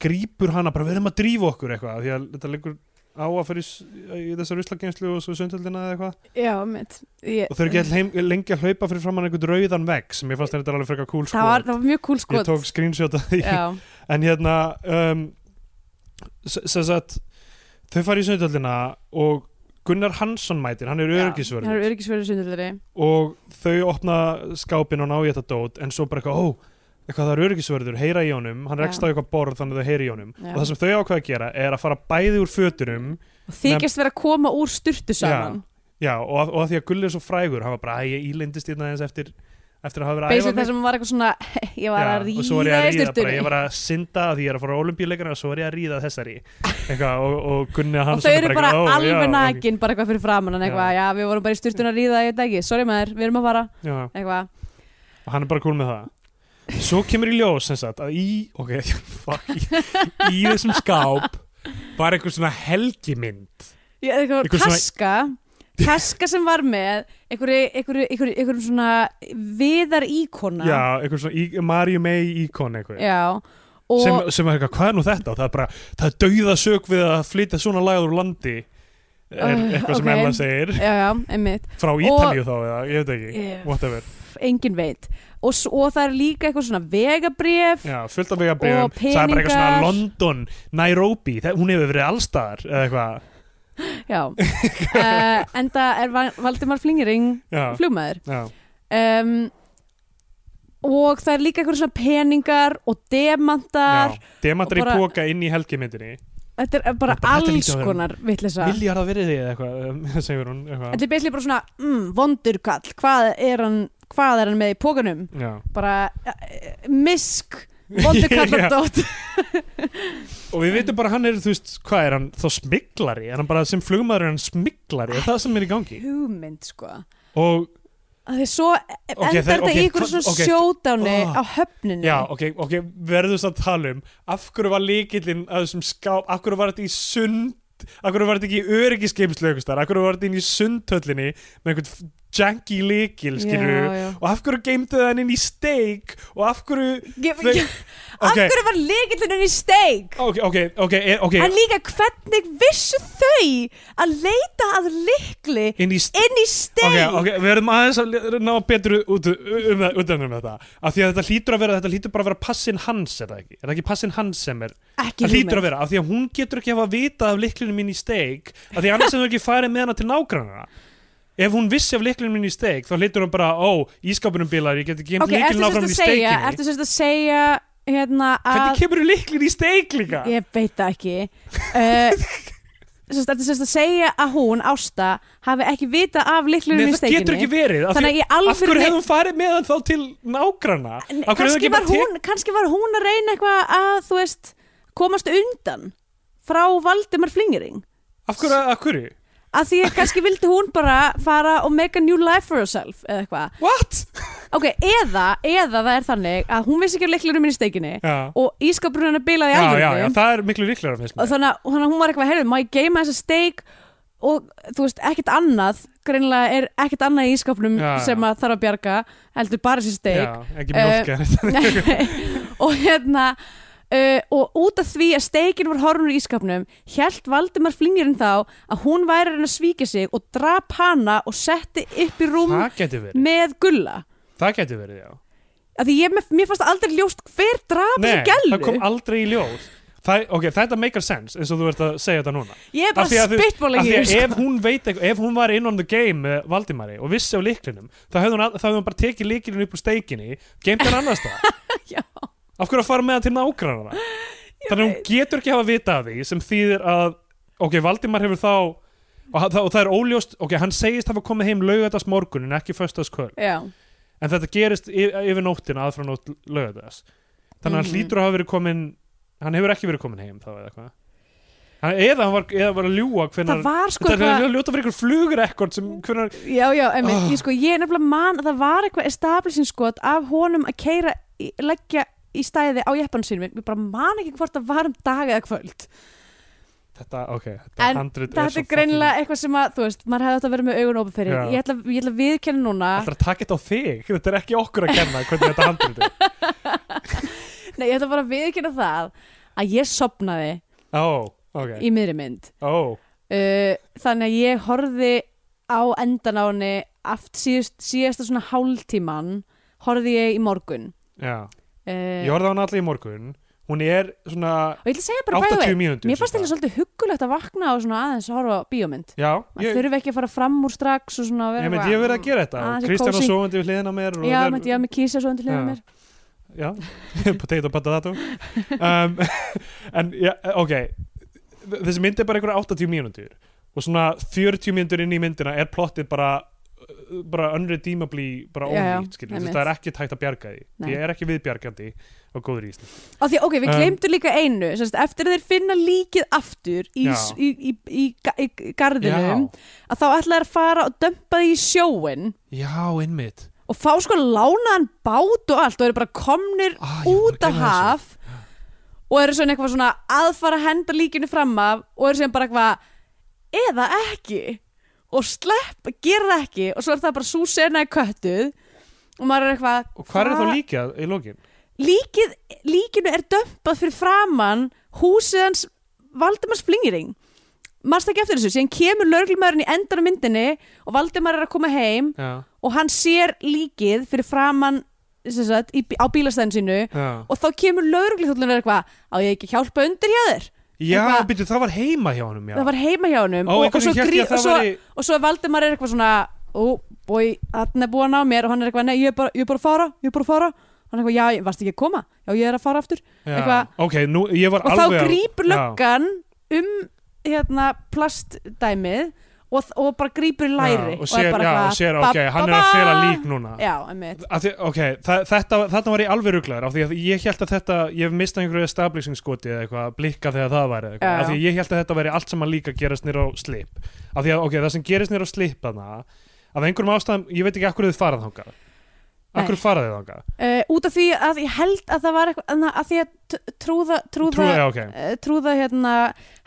grípur hana bara, við erum að drífa okkur eitthvað af því að þetta liggur á að fyrir í þessar ruslageimslu og svo sundhöllina eða eitthvað já, einmitt ég, og þau eru ekki öll heim, lengi að hlaupa fyrir framann einhvern rauðan vegg sem ég fannst þetta alveg frekar cool það var, skot það var mjög cool ég skot tók screenshot af því já, en hérna um, sem sagt þau fara í sundhöllina og Gunnar Hansson mætir, hann er Já, hann öryggisvörður er öryggisvörður sundhöllari og þau opna skápin og ná í þetta dót en svo bara eitthvað, ó, eitthvað það er öryggisvörður heyra í honum, hann Já. rekst á eitthvað borð þannig að þau heyra í honum Já. og það sem þau ákveða að gera er að fara bæði úr fötunum og þykist vera að koma úr styrtu saman já, og, að- og að því að Gulli er svo frægur hann var bara, æ, ég ílindist hérna aðeins eftir eftir að hafa verið að æfa basically mig." það sem var eitthvað svona ég var að og svo var ég ríða að í ríða bara, styrtunni ég var að synda að því ég er að fara á olimpíuleikana og svo var ég að ríða þessari eitthvað, og, og Gunni og Hansson þau eru bara eitthvað, "Ó, já, alveg ok." nakin bara eitthvað fyrir framann en eitthvað, já, við vorum bara í styrtun að ríða ég degi, sorry maður, við erum að fara já, eitthvað, og hann er bara cool með það svo kemur í ljós sem sagt að í, ok, fuck í, í þessum skáp var einhver svona helgimynd Ég- eitthvað Einhver svona- kaska kaska sem var með einhverju, einhverju, einhverju, einhverju svona viðar íkona já, einhver svona í, Mario May íkon eitthvað Já, og sem, sem er eitthvað, hvað er nú þetta og það er bara, það er dauða sök við að flytja svona lagað úr landi er Uh, eitthvað sem ok. Ella segir já, já, einmitt, frá Ítalíu þá eða, ég veit ekki, Ég- whatever engin veit og, s- og það er líka eitthvað svona vegabrif Já, fullt af Og vegabrifum, það er bara eitthvað svona peningar. London, Nairobi, það, hún hefur verið allstaðar eða eitthvað, Já, uh, en það er Va- Valdimar Flingering já, flugmaður já, um, og það er líka eitthvað svona peningar og demantar já. demantar og bara- í póka inn í helgimyndinni þetta er bara Þetta- þetta alls lítur að vera- konar vitleysa Miljardar verið þið eitthvað, um, segir hún eitthvað. Þetta er beislega bara svona mm, vondur kall, hvað er hann hvað er hann með í pókanum Já. bara eh, misk vondur Já. kallardótt Og við veitum bara hann er, þú veist, hvað er hann þá smiklari, er hann bara sem flugmaður er hann smiklari, er það sem er í gangi hugmynd sko og, að því svo endar þeir- þetta í ok, ykkur hva- svona ok, okay, sjódáni oh. á höfninni já, ok, ok verður þess að tala um, af hverju var líkillinn að þessum skáp, af hverju var þetta í sund af hverju var þetta ekki í öryggisgeimslu einhvers staðar? af hverju var þetta inn í sundhöllinni með einhvern f- janky líkil, skilur já, já. og af hverju geimdu það hann inn í steik og af hverju Ég, þau- ég, af ok, hverju var lykillinn í steik ok, ok, ok, e- ok en líka hvernig vissu þau að leita að lykli inn í steik inn í steik Ok, ok, við verðum aðeins að le- ná betur út um, það- utan um þetta af því að þetta hlýtur að vera, þetta hlýtur bara að vera passin hans er það ekki, er það ekki passin hans sem er ekki það hlýtur að hugmynd vera, af því að hún getur ekki hafa vitað af liklunum mín í steik, af því annars hefur ekki farið með hana til nágrannana ef hún vissi af liklunum mín í steik, þá hlýtur hún bara ó, ískapunum bilar, ég geti gemt ok, okay, ertu liklun sérst áfram að í segja steikinni ertu sérst að segja hérna að hvernig kemur liklun í steik líka? Ég veit það ekki uh, Sérst, þetta sérst að segja að hún, Ásta hafi ekki vitað af Nei, liklurinn í það steikinni getur ekki verið, af, Þannig að því, ég alveg af hverju hefur hún farið með hann þá til nágranna? Af hverju hefur kannski, ekki var bara hún, kannski var hún að reyna eitthvað að, þú veist, komast undan frá Valdimar Flingering tek- af hverju, af hverju? að því að kannski vildi hún bara fara og make a new life for herself eða eitthvað What? ok, eða, eða það er þannig að hún vissi ekki af liklurinn í steikinni Já. og ískapurinn hennar bilaði í já, já, alvörunni. já, það er miklu líklega finnst og mér þannig að þannig að hún var eitthvað, heyrðu, má ég geima þessa steik og þú veist, ekkert annað greinilega er ekkert annað í ískapnum Já, já. sem að þarf að bjarga heldur bara þessi já, steik ekki Eh, mjólka og hérna uh, og út af því að steikin var horfnur í ískapnum held Valdimar flingirinn þá að hún væri að reyna að svíkja sig og drap hana og setti upp í rúm það getur verið, með gulla það getur verið, já af því ég, mér fannst aldrei ljóst hver drap þessi það gælu kom aldrei í ljós það, ok, þetta meikar sense eins og þú ert að segja þetta núna Ég er Af bara því sko. að þú- spittból af því ekki að ef hún veit eitthvað, ef hún var in on the game með Valdimari og vissi á líklinum þá hefði hún, al- þá hefði hún bara tekið líklinum upp úr steikinni geimt hann annars það Já. af hverju að fara með hann til nágrannana þannig að hún getur ekki hafa vita af því sem þýðir að, ok, Valdimar hefur þá og, ha- það- og það er óljóst, ok, hann segist hafa komið heim laugardags morgun en ekki föstaskvöld Já, en þetta gerist y- yfir nóttina aðfra nótt lögadags þannig að hann Mhm. hlýtur að hafa verið komin hann hefur ekki verið komin heim þá eða hvað hann, eða hann var, eða var að ljúa hvenar, það var sko þetta er eitthvað að ljóta fyrir ykkur flugrekord sem hvenar, Já, já, emi, Ah. ég sko, ég er nefnilega man að það var eitthvað establishing skot af honum að keira, leggja í stæði á jeppanum sínum, ég bara man ekki hvort það var um dag eða kvöld þetta, ok, þetta En handrit Þetta er greinilega eitthvað sem að, þú veist, maður hefði átt að vera með augun opið fyrir, Já. ég ætla, ég ætla að viðkenna núna Þetta er að taka þetta á þig, þetta er ekki okkur að kenna hvernig þetta handrit er Nei, ég ætla bara að viðkynna það að ég sopnaði Ó, ok, í miðri mynd ó, uh, þannig að ég horfði á endan á henni aft síðust, síðasta svona hálftíman horfði ég í morgun já uh, Ég horfði á hann allir í morgun Hún er svona og ég ætla að segja bara bæði 80 veit mínútur mér fannst þetta svolítið huggulegt að vakna og svona aðeins að horfa á bíómynd Já, maður ég, þurfi ekki að fara fram úr strax og svona að vera ég meint, ég hef verið að gera þetta Ah, og þessi Kristján var kósí. sofandi við hliðina á mér og já, það er- mætti ég að mig kísa svo undir hliðinu Já. mér Já, potato patatato um, En, já, ok Þessi mynd er bara einhverja 80 mínútur og svona 40 mínútur inn í myndina er plottið bara uh, bara unredeemably bara Já, já, ónýtt skilur, einmitt. þetta er ekki tækt að bjarga því Nei. því er ekki viðbjargandi á góður ísl Af því, ok, við Um, glemdu líka einu sérst, eftir að þeir finna líkið aftur í, Já. í, í, í, ga- í garðinum að þá ætla þeir að fara og dömpa því í sjóin já, innmitt og fá sko lánaðan bát og allt og eru bara komnir ah, ég var að út á gleyma þessu. haf og eru svona eitthvað svona aðfara að henda líkinu fram af og eru sem bara eitthvað eða ekki og slepp, gera það ekki og svo er það bara sú sena í köttuð og maður er eitthvað Og hvað er "Hva- þá líka í lokin? líkið, líkinu er dömpað fyrir framann húsið hans Valdimars Flingiring mannst ekki eftir þessu, síðan kemur lögreglumæðurinn í endan á myndinni og Valdimar er að koma heim Já, og hann sér líkið fyrir framann sem sagt, í, á bílastæðin sínu já. og þá kemur lögreglumæðurinn eitthvað á ég ekki að hjálpa undir hjá þér Já, Eitthvað- byrju, það var heima hjá honum, já. það var heima hjá honum Ó, og, og, einhvern svo veginn hélt grí, ég að og, það svo, væri... og svo er Valdimar er eitthvað svona ó, bói, hann er búin á mér og hann er eitthvað, nei, ég er bara, ég er bara að fara ég er bara að fara, hann er eitthvað, já, ég varst ekki að koma já, ég er að fara aftur Já. eitthvað- Ok, nú, ég var og alveg... þá að- grýpur Já. löggan um hérna plastdæmið og, og bara grýpur í læri Já, og sér, er bara já, eitthvað, og sér, ba- ok, hann er ba- að ba- fela lík núna. já, einmitt Af Því, ok, þa þetta, þetta var ég alveg rugglaður af því að ég held að þetta, ég hef mistað einhverju establishing skoti eða eitthvað, blikka þegar það væri eða Já, eitthvað, af því já. að ég held að þetta væri allt saman líka að gerast nýra á slip af því að, ok, það sem gerist nýra á slip þarna, af einhverjum ástæðum, ég veit ekki akkur þið farað þangað Nei. akkur farað þið þangað, uh, út af því að ég held að það var eitthvað annað, að því að t- trúða trúða, trúið, trúða, já, ok trúða hérna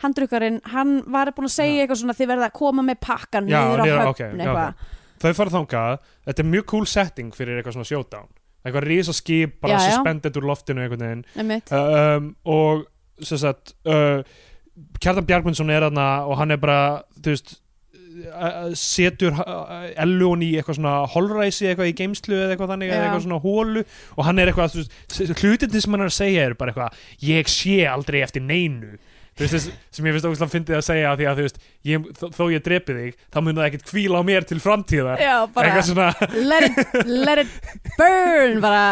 handrukkarinn, hann var búin að segja Já. eitthvað svona þið verða að koma með pakkan Já, niður á niður á- höfn ok, já, eitthvað þau fara þangað, þetta er mjög cool setting fyrir eitthvað svona showdown eitthvað risaskip, bara Já, já. suspended úr loftinu einhvern veginn einmitt, Uh, um, og sem sagt uh, Kjartan Bjargmundsson er þarna og hann er bara, þú veist uh, setur uh, Ellun í eitthvað svona holræsi eitthvað í geimslu eða eitthvað þannig, eða Já. eitthvað svona hólu og hann er eitthvað, þú veist, hlutinni sem hann er að segja er bara eitthvað, ég sé aldrei eftir neinu Þú veist, þess, sem ég finnst ógustlega fyndið að segja af því að þú veist, ég, þó, þó ég drepi þig þá mun það ekkert kvíla á mér til framtíðar já, bara eitthvað svona let it, let it burn bara,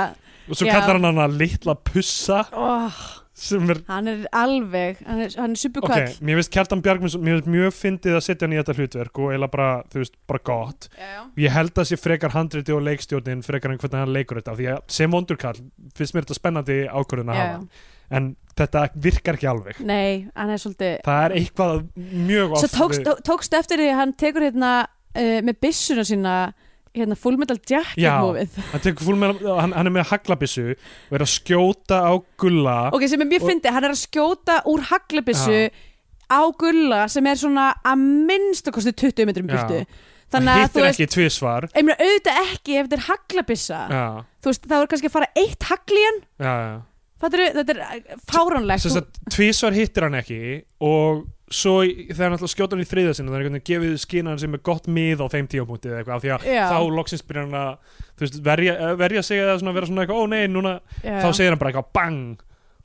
og svo Já. kallar hann hana litla pussa oh, sem er, hann er alveg hann er, hann er ok, superkall mér finnst Kjartan Bjargmundsson mér finnst mjög fyndið að setja hann í þetta hlutverk og eiginlega bara, þú veist, bara gott já, já. ég held að sé frekar handriti og leikstjórnin frekar en hvernig hann leikur þetta, af því að sem vondurkall finnst mér þetta spennandi ákvörðun að Já, hafa en þetta virkar ekki alveg Nei, hann er svolítið það er eitthvað mjög Svo oft tókst, við- tókst eftir því að hann tekur hérna uh, með byssuna sína hérna full metal jacket Já. mófið hann, tekur full með, hann, hann er með haglabissu og er að skjóta á gulla Ok, sem er mjög Og- fyndið, hann er að skjóta úr haglabyssu Já. á gulla sem er svona að minnsta kosti 20 metrum Já. burtu hann Þannig að þú hittir veist, ekki tvisvar einhverja auðvitað ekki ef þetta er haglabissa já, Þú veist, það voru kannski að fara eitt haglíjan já, já Fattur, þetta er eh, fáránlegt Sess Þú- að tvísvar hittir hann ekki og svo í- þegar hann ætlar að skjóta hann í þriða sinna þannig að gefið skina hann sem er gott mið á þeim tíapunktið eða eitthvað af því að Já. þá loksins byrjar hann að þú veist, verja, eh, verja sig eða svona, vera svona eitthvað ó nei, núna Já. þá segir hann bara eitthvað bang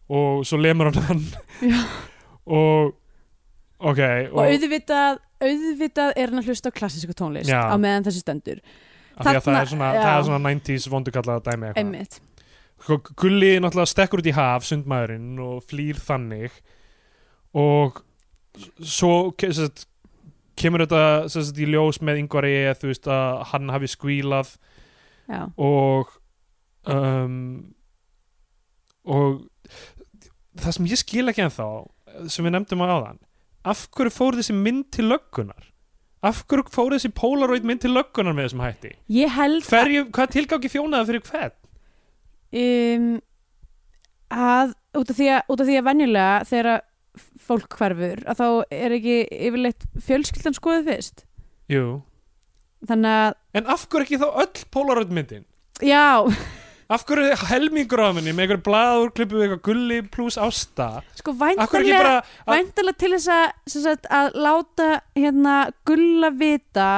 og svo lemur hann hann og ok og auðvitað, auðvitað er hann að hlusta á klassísku tónlist Já. á meðan þessi stendur af því að það þarna- er svona, já. það er svona 90s vondukallaða dæmi eitthvað. einmitt Sko, Gulli náttúrulega stekkur út í haf sundmaðurinn og flýr þannig og svo ke- sem sagt, kemur þetta sem sagt, í ljós með yngvari þú veist að hann hafi skvílað já. og um, og það sem ég skil ekki ennþá sem við nefndum á áðan af hverju fór þessi mynd til löggunar af hverju fór þessi Polaroid mynd til löggunar með þessum hætti ég held Hverju, hvað tilgangi þjónaði fyrir hvern um, að út af því að, út af því að venjulega þegar að fólk hverfur að þá er ekki yfirleitt fjölskyldan skoðið fyrst Jú. þannig að, en af hverju ekki þá öll Polaroid myndin já, af hverju helmingur af henni með einhver blaður klippu við eitthvað gulli pluss ásta sko af hverju ekki væntanlega bara að- væntanlega til þess að, sem sagt, að láta hérna gulla vita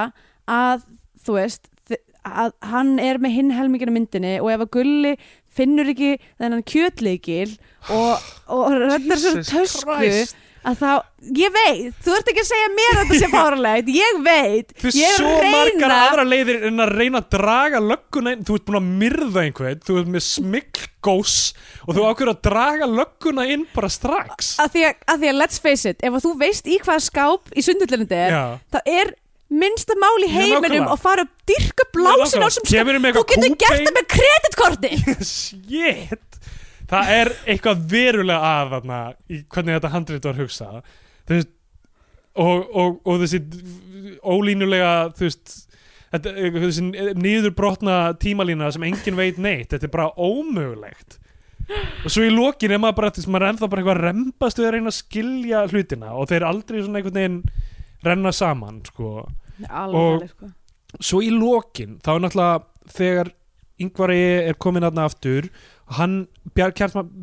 að þú veist þi- að hann er með hinn helmingina af myndinni og ef að gulli finnur ekki þennan kjötleikil og, og röndar sér Jesus tösku Christ. að þá, ég veit, þú ert ekki að segja mér að þetta sé fáralegt, ég veit Þú ég er svo margar aðra leiðir en að reyna að draga lögguna inn, þú ert búin að myrða einhvern, þú ert með smikklgós og þú ákveður að draga lögguna inn bara strax. að því að, að því að let's face it, ef að þú veist í hvað skáp í sundhullundi er, Já. þá er minnsta mál í Já, heiminum nákvæmlega. að fara upp dyrka Já, blásin á nákvæmlega. sem Kemurðu með þú eitthvað getur gert kúbein? það með kreditkorti Shit! Það er eitthvað verulega að þarna í hvernig þetta handrit var hugsað. Þú veist, og, og, og þessi ólínulega, þú veist, þetta, þessi niðurbrotna tímalína sem enginn veit neitt, þetta er bara ómögulegt. Og svo í lokin er maður bara, þú veist, maður er ennþá bara eitthvað rembast við að reyna að skilja hlutina og þeir aldrei svona einhvern veginn renna saman, sko Og- alveg, sko. svo í lokin þá er náttúrulega þegar yngvari er komin aðna aftur hann, Bjarg,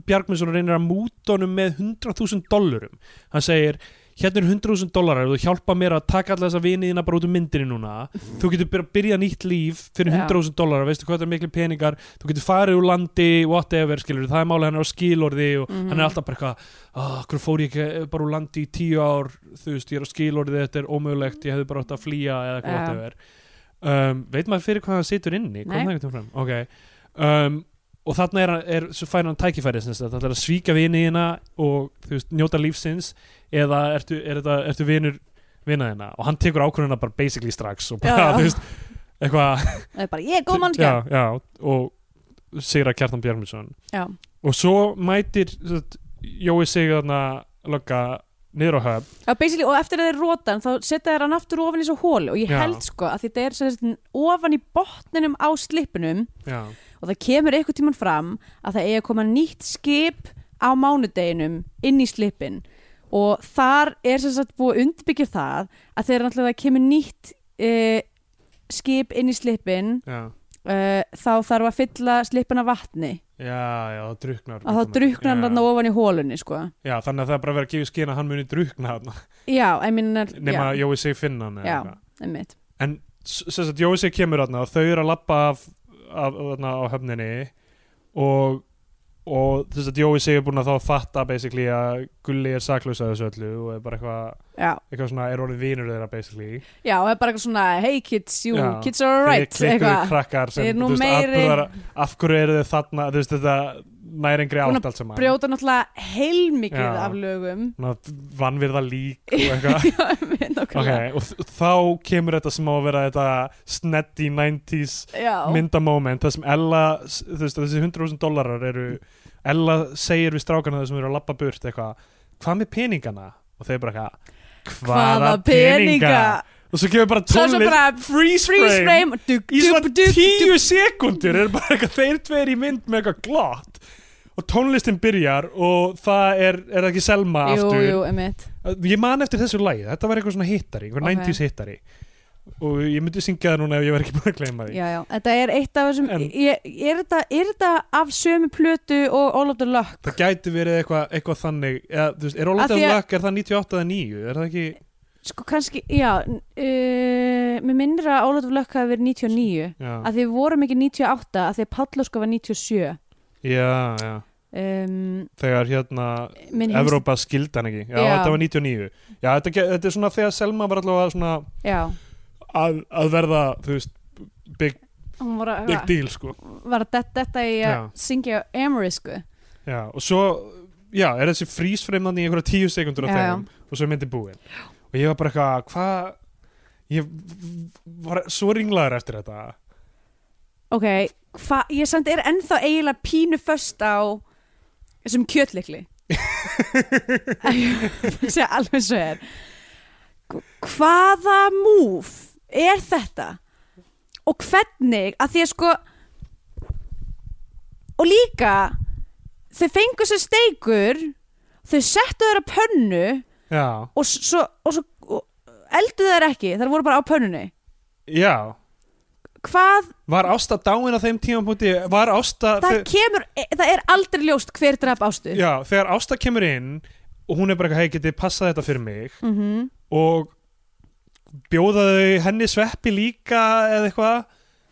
Bjargmundsson reynir að múta honum með 100.000 dollurum hann segir, hérna er 100.000 dollarar þú hjálpa mér að taka alla þessa vinið þína bara út um myndinni núna, þú getur bara að byrja nýtt líf fyrir Já. 100.000 dollarar, veistu hvað það er miklu peningar þú getur farið úr landi, whatever skilur, það er málið hann er á skilorði og Mhm. hann er alltaf bara eitthvað, ah, hverju fór ég ekki bara úr landi í tíu ár, þú veist, ég er á skilorði þetta er ómögulegt, ég hefði bara átt að flýja Já. eða hvað þetta er um, veit maður fyrir hvað hann situr inni kom Nei. það eitthvað fram okay. um, og þarna er, hann- er svo fær hann tækifæri sem þetta er að svíka vini þína og þú veist, njóta lífsins eða ertu, er þetta, ertu vinur vina þína og hann tekur ákvörðuna bara basically strax og bara, Já, já. þú veist, eitthvað það er bara, ég er góð mannskja já, já, og sigra Kjartan Bjarmundsson Já. og svo mætir sem sagt, Jói sig þarna lögga niður á höf Já, basically, og eftir að þeir rótan þá setja þeir hann aftur ofan í svo hólu og ég Já. held sko að þetta er sem sagt, ofan í botninum á slippunum já, og það kemur eitthvað tíman fram að það eigi að koma nýtt skip á mánudeginum inn í slippin og þar er sem sagt búið að undirbyggja það að þegar náttúrulega kemur nýtt uh, skip inn í slippin já, uh, þá þarf að fylla slippin af vatni já, já það druknar og þá druknar hann Já. þarna ofan í hólunni sko. Já, þannig að það er bara verið að gefa í skyn að hann muni drukna þarna já, ég minn nema að já, Jói sig finna hann eða já, eitthvað. einmitt en s- sem sagt Jói sig kemur þarna og þau eru að labba af, af, þarna á höfninni og og þess að Jói sig er búin að þá fatta basically að Gulli er saklaus að þessu öllu og er bara eitthvað, já, eitthvað svona er orðið vinur þeirra basically já, og það er bara eitthvað svona hey kids, you, Já. kids are alright þeir klikkuðu eitthvað, krakkar Þið er sem, nú þú veist, meiri- atburðar af hverju eru þau þarna, þú veist þetta næringri Búin að átt allt saman brjóta náttúrulega heilmikið Já. af lögum vannvirða lík og eitthvað Já, einmitt, ok, nákvæmlega. og þ- þá kemur þetta sem á að vera þetta sneddy 90s Já. myndamoment þar sem Ella, s- þú veist, þessi 100.000 dólarar eru, Ella segir við strákana þessum eru að labba burt eitthvað hvað með peningana? og þeir bara eitthvað hvaða peninga? og svo kemur bara Svo er svo tónlist bara freeze frame, freeze frame og dug, í dug, svona dug, dug. tíu sekundur er bara eitthvað þeir tveir í mynd með eitthvað glott og tónlistin byrjar og það er, er það ekki Selma Jú, aftur jú, emitt Ég man eftir þessu lagi, þetta var eitthvað svona hittari, einhver Ok. 90s hittari og ég myndi syngja það núna ef ég var ekki búin að gleyma því. Já, já, þetta er eitt af þessum En- ég, er, þetta, er þetta af sömu plötu og All of the Luck? Það gæti verið eitthvað, eitthvað þannig, eða, þú Af veist, er því Ólanda að- Luck, er það 98 eða 9, er það ekki, Sko kannski, já uh, Mér minnir að All of the Luck hafi verið 99 já, að því við vorum ekki 98 að því að Pállóska var 97 já, já, um, þegar hérna minn heimst Evrópa skildi hann ekki, já, Já. þetta var 99 já, þetta, ge- þetta er svona þegar Selma var allavega svona já, að, að verða, þú veist big, hún var að, big deal sko var að detta, detta í að Já. syngja amerísku já, og svo, já, er þessi frísfreimandi í einhverja tíu sekundur Já, á já. þeim og svo er myndi búin og ég var bara eitthvað, hvað ég var svo ringlaður eftir þetta ok, hva, ég samt er ennþá eiginlega pínu föst á þessum kjötlikli segja alveg svo er Hv- hvaða múf er þetta og hvernig að því að sko og líka þau fengu sér steikur þau settu þeirra pönnu já, og s- svo, og svo og eldu þeir ekki, þær voru bara á pönnunni já hvað var Ásta dáin á þeim tímapunkti var Ásta það þe- kemur, e, það er aldrei ljóst hver draf ástu já, þegar Ásta kemur inn og hún er bara eitthvað, hei, getið passað þetta fyrir mig mm -hmm. og bjóða þau henni sveppi líka eða eitthvað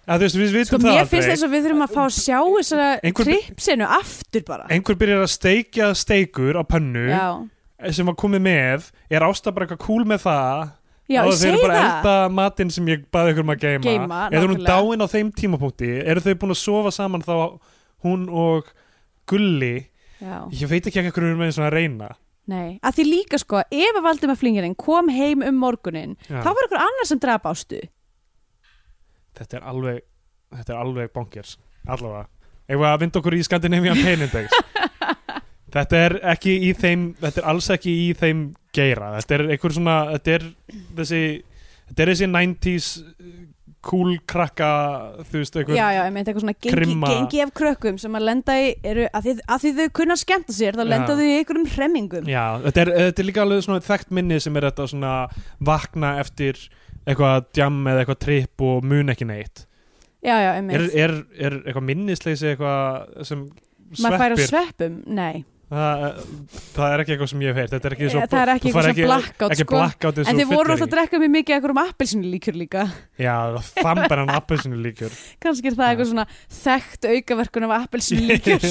að þú veist, við sko vitum það mér finnst þess að við þurfum að fá að sjá þessara Einhver- tripsinu aftur bara einhver byrjar að steikja steikur á pönnu já, sem var komið með er ásta bara eitthvað cool með það já og ég þeir segi eru bara að það elda matinn sem ég baði ykkur um að geima Geyma, eða hún nákvæmlega. dáin á þeim tímapunkti eru þau búin að sofa saman þá hún og Gulli já, ég veit ekki ekki hverju við erum með svona að reyna nei, að því líka sko ef að Valdimar Flingirinn kom heim um morgunin Já. þá var eitthvað annar sem draf ástu þetta er alveg þetta er alveg bonkers, allavega eigum við að vinda okkur í Skandinavian Pain Index þetta er ekki í þeim þetta er alls ekki í þeim geira þetta er einhver svona þetta er þessi, þetta er þessi 90s cool krakka þú veist, einhver já, já, ég meint eitthvað svona gengi, Krimma. gengi af krökkum sem að lenda í, eru, að, því, að því þau kunna skemmta sér, þá Já. lenda þau í einhverjum hremmingum Já, þetta er, þetta er líka alveg svona þekkt minni sem er þetta svona vakna eftir eitthvað djam eða eitthvað tripp og mun ekki neitt já, já, ég er, meint, er, er eitthvað minnisleysi eitthvað sem maður fær á sveppir sveppum nei, það, eh, það er ekki eitthvað sem ég hef heyrt þetta er ekki svo Eh, það er ekki þú fær eitthvað svona blackout ekki sko. blackout eins En og þið voru fyllir alltaf að drekka mjög mikið eitthvað um appelsinu líkur líka. já, það þambar hann appelsinu líkjur Kannski er það Já. eitthvað svona þekkt aukaverkun af appelsinu líkur.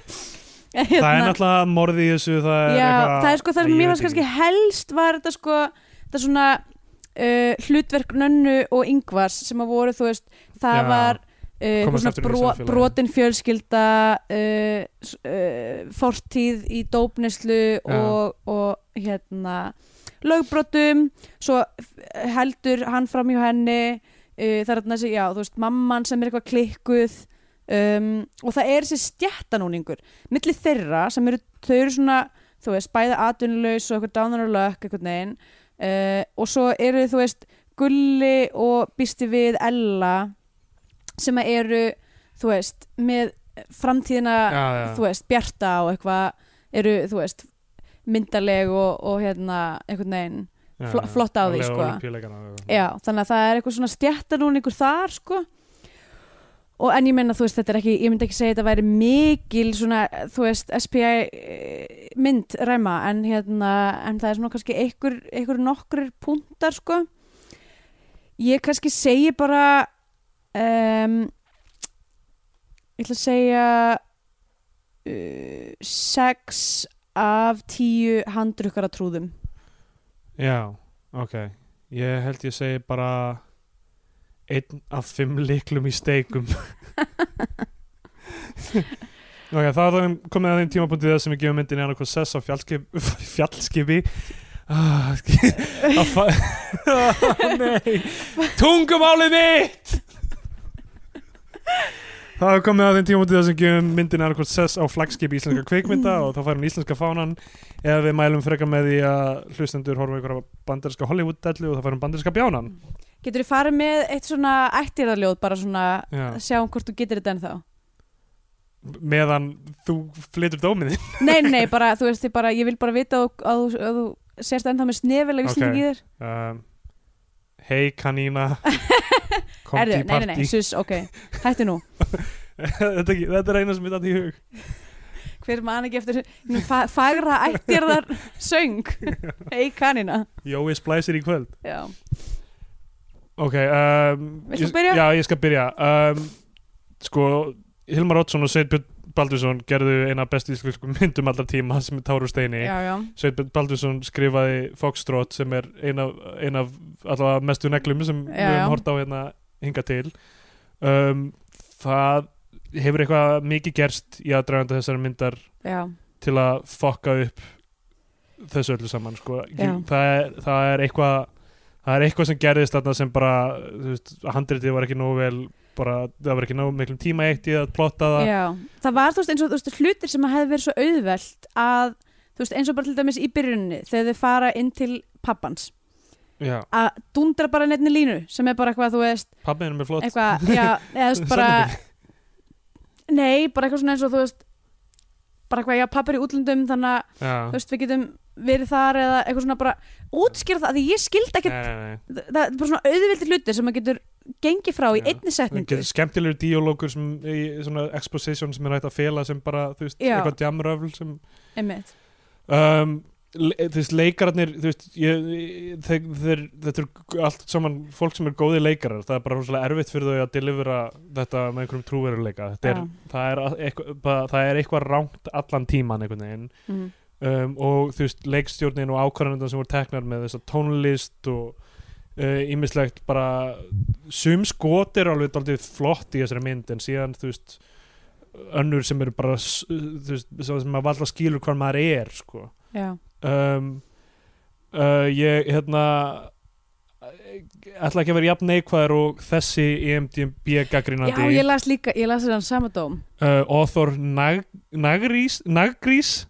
það er náttúrulega morði í þessu það er hérna. Já, eitthvað það er sko það Æ, sem ég mér veit fannst kannski ekki. helst var þetta sko, þetta svona uh, hlutverk Nönnu og Yngvars sem að voru, þú veist, það Já. var uh, eitthvað Komast svona aftur inn í bro, samfélagið. brotin fjölskylda uh, s- uh, fortíð í dópneslu Já. og, og hérna lögbrotum svo heldur hann fram hjá henni uh, það er þarna þessi, já, þú veist, mamman sem er eitthvað klikkuð um, og það er þessi stjættanúningur milli þeirra sem eru, þau eru svona þú veist, bæði atvinnulegs og eitthvað dánarlökk einhvern veginn uh, og svo eru, þú veist, Gulli og býsti við Ella sem að eru, þú veist með framtíðina já, já. þú veist, bjarta og eitthvað eru, þú veist, myndarleg og, og hérna, einhvern veginn Já, fl- flott á því, alveg sko. Ólympíuleikana og eitthvað. Já, þannig að það er eitthvað svona stjættanúningur þar sko og en ég menna þú veist þetta er ekki, ég myndi ekki segja þetta væri mikil svona, þú veist SPI eh, mynd ræma en hérna, en það er svona kannski einhver, einhver nokkur púntar sko ég kannski segi bara um, ég ætla að segja uh, sex af tíu handrukkara trúðum Já, ok Ég held ég segi bara einn af fimm liklum í steikum Ok, það er það komið að þeim tímapunktið sem við gefum myndinni annað hvað sess á fjallskip, fjallskipi ah, að fa- ah, Nei Tungumálið mitt Það er komið að þeim tímapunktið sem við gefum myndinni annað hvað sess á flagskipi íslenska kveikmynda og þá færum íslenska fánan eða við mælum frekar með því að hlustendur horfa ykkur á bandarinska Hollywood-dellu og það færum bandarinska bjánan Getur þið farið með eitt svona ættirðarljóð bara svona Já. að sjá um hvort þú getur þetta ennþá? meðan þú flytur dómið þinn. Nei, nei, bara, þú veist þið bara, ég vil bara vita að, þú- að, þú- að þú sérst ennþá með snefileg Ok. íslendingi í þér. um, hei kanína kom Erðu, nei, til nei, nei, partí sus, ok, hættu nú. þetta, er ekki- þetta er eina sem ég dætti í hug Hver man ekki eftir hinum fa fagra ættirðar söng, ei kanina. Jói splæsir í kvöld Já, ok um, Viltu ég- byrja? já, ég skal byrja um, sko, Hilmar Oddsson og Sveit Björn Baldursson gerðu eina bestu íslensku myndum allra tíma sem er Tár úr steini já, já, Sveit Baldursson skrifaði Foxtrot sem er eina, eina af allavega mestu neglum sem Já, við já. höfum hort á hérna hinga til um, það hefur eitthvað mikið gerst í aðdraganda þessari myndar já, til að fokka upp þessu öllu saman sko. Já. Ég- það, er, það er eitthvað það er eitthvað sem gerðist þarna sem bara þú veist, handritið var ekki nógu vel bara, það var ekki nógu miklum tíma eitt í að plotta það já. Það var þú veist eins og þú veist hlutir sem að hefði verið svo auðvelt að þú veist eins og bara til dæmis í byrjunni þegar þau fara inn til pappans Já. að dundra bara nefni línu sem er bara eitthvað þú veist pappinu mér flott eitthvað, já, eða þú veist bara nei, bara eitthvað svona eins og þú veist bara eitthvað, já, pappa er í útlöndum þannig að, þú Já. veist, við getum verið þar eða eitthvað svona bara útskýra það, af því ég skildi ekki Nei, nei, nei. það, það er bara svona auðvildir hlutir sem maður getur gengið frá í Já. einni Það setningu getur skemmtilegur díolókur sem í svona exposition sem er hægt að fela sem bara, þú veist, Já. eitthvað djamröfl sem einmitt, um, le- þú veist, leikararnir þú veist, ég, ég- þeir, þeir, þetta er allt saman fólk sem er góði leikarar það er bara rosalega erfitt fyrir þau að delivera þetta með einhverjum trúveruleika Þetta er, Já. það, er að- eitthvað, bara- það er eitthvað rangt allan tíman einhvern veginn mm. um, og þú veist, leikstjórnin og ákvarðanundar sem voru teknar með þess að tónlist og ímislegt bara sum skot er alveg daldið flott í þessari mynd en síðan þú veist önnur sem eru bara s- þú veist, svo sem maður alltaf skilur hvað maður er sko. já, um, uh, ég hérna ætla ekki að vera jafn neikvæður og þessi E IMDB já, gaggrinandi ég las líka ég las þessan sama dóm uh, author Nag Nagrís, Nagrís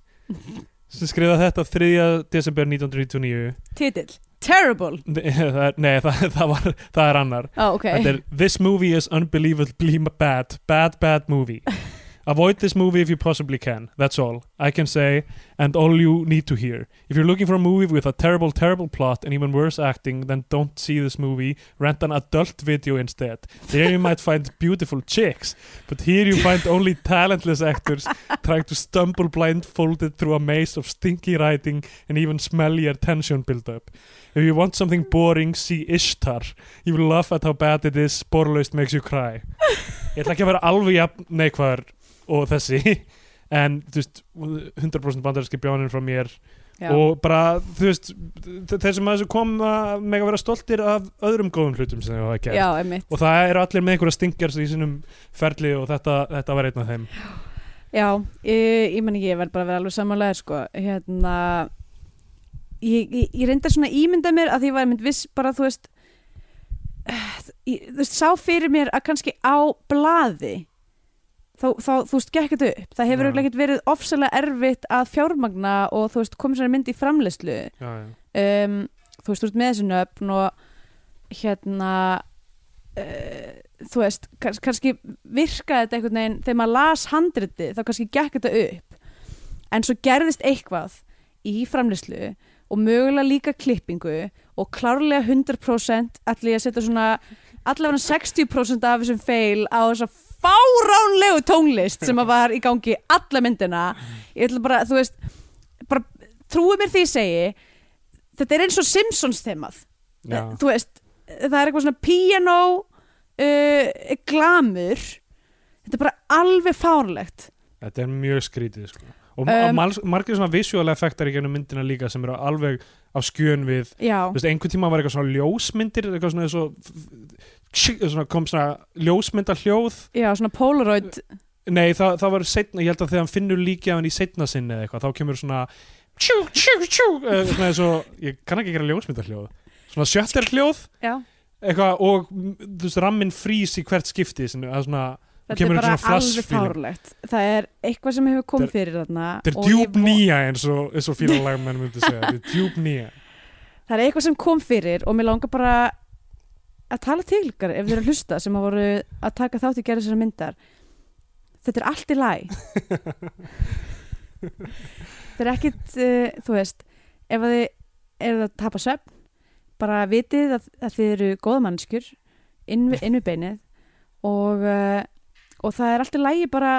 sem skrifaði þetta 3. desember 1999 titill, terrible, Nei, það er- Nei, það, það, var, það er annar á, ok Þetta er This movie is unbelievably bad Bad, bad movie Avoid this movie if you possibly can That's all I can say and all you need to hear If you're looking for a movie with a terrible, terrible plot and even worse acting then don't see this movie Rent an adult video instead There you might find beautiful chicks but here you find only talentless actors trying to stumble blindfolded through a maze of stinky writing and even smellier tension build-up If you want something boring, see Ishtar You will laugh at how bad it is Sporlaust makes you cry Ég ætla ekki að vera alveg jafn neikvar og þessi en þú veist 100% bandarinski bjáninn frá mér já, og bara þú veist þ- þeir sem að þessu kom að mega vera stoltir af öðrum góðum hlutum sem þau hafa gert já, einmitt og það eru allir með einhverja stingjar í sínum ferli og þetta, þetta var einn af þeim Já, ég, ég man ekki, ég verð bara að vera alveg samanlega sko, hérna ég, ég, ég reyndar svona að ímynda mér að því ég var mynd viss bara, þú veist eh, ég, þú veist, sá fyrir mér að kannski á blaði þá, þá þú veist, gekk þetta upp það hefur Já. auðvitað ekkert verið ofsalega erfitt að fjármagna og þú veist, komið sér mynd í framleyslu já, já. um, þú veist, þú ert með þessi nöfn og hérna uh, þú veist, kanns, kannski virkaði þetta einhvern veginn, þegar maður las handriti þá kannski gekk þetta upp en svo gerðist eitthvað í framlýslu og mögulega líka klippingu og klárlega 100% allir ég að setja svona allavega 60% af þessum fail á þessa fáránlegu tónlist sem að var í gangi alla myndina ég ætla bara, þú veist bara trúi mér því ég segi þetta er eins og Simpsons þemað Eh, Já. þú veist, það er eitthvað svona piano uh, glamur þetta er bara alveg fárlegt Þetta er mjög skrítið sko. og Um, um, margir svona visual effektar í gennum myndina líka sem eru alveg á skjön við já, Þú veist, einhvern tíma var eitthvað svona ljósmyndir eitthvað svona, svo, svona kom svona ljósmyndar hljóð já, svona Polaroid nei það, það var setna, ég held að þegar hann finnur líki af hann í setna sinni eða eitthvað, þá kemur svona tjú, tjú, tjú, eh, svona eins og ég kann ekki gera ljósmyndar hljóð svona sjötter hljóð já, eitthvað og mm, þú veist, ramminn frýs í hvert skipti sinni, það er svona, þetta kemur er upp bara svona flash alveg feeling. fárlegt það er eitthvað sem hefur Þetta komið fyrir þarna þetta og er ég djúb vo- nýja eins og, eins og fílalagmenn myndi segja, þetta er djúb nýja það er eitthvað sem kom fyrir og mér langar bara að tala til ykkar ef þið eru að hlusta sem hafa voru að taka þátt í gerð þessar myndar þetta er allt í læ þetta er ekkit uh, þú veist, ef að þið eru að tapa svefn bara vitið að, að þið eru góða mannskjur inn, við- inn við beinið og, uh, og það er allt í lægi bara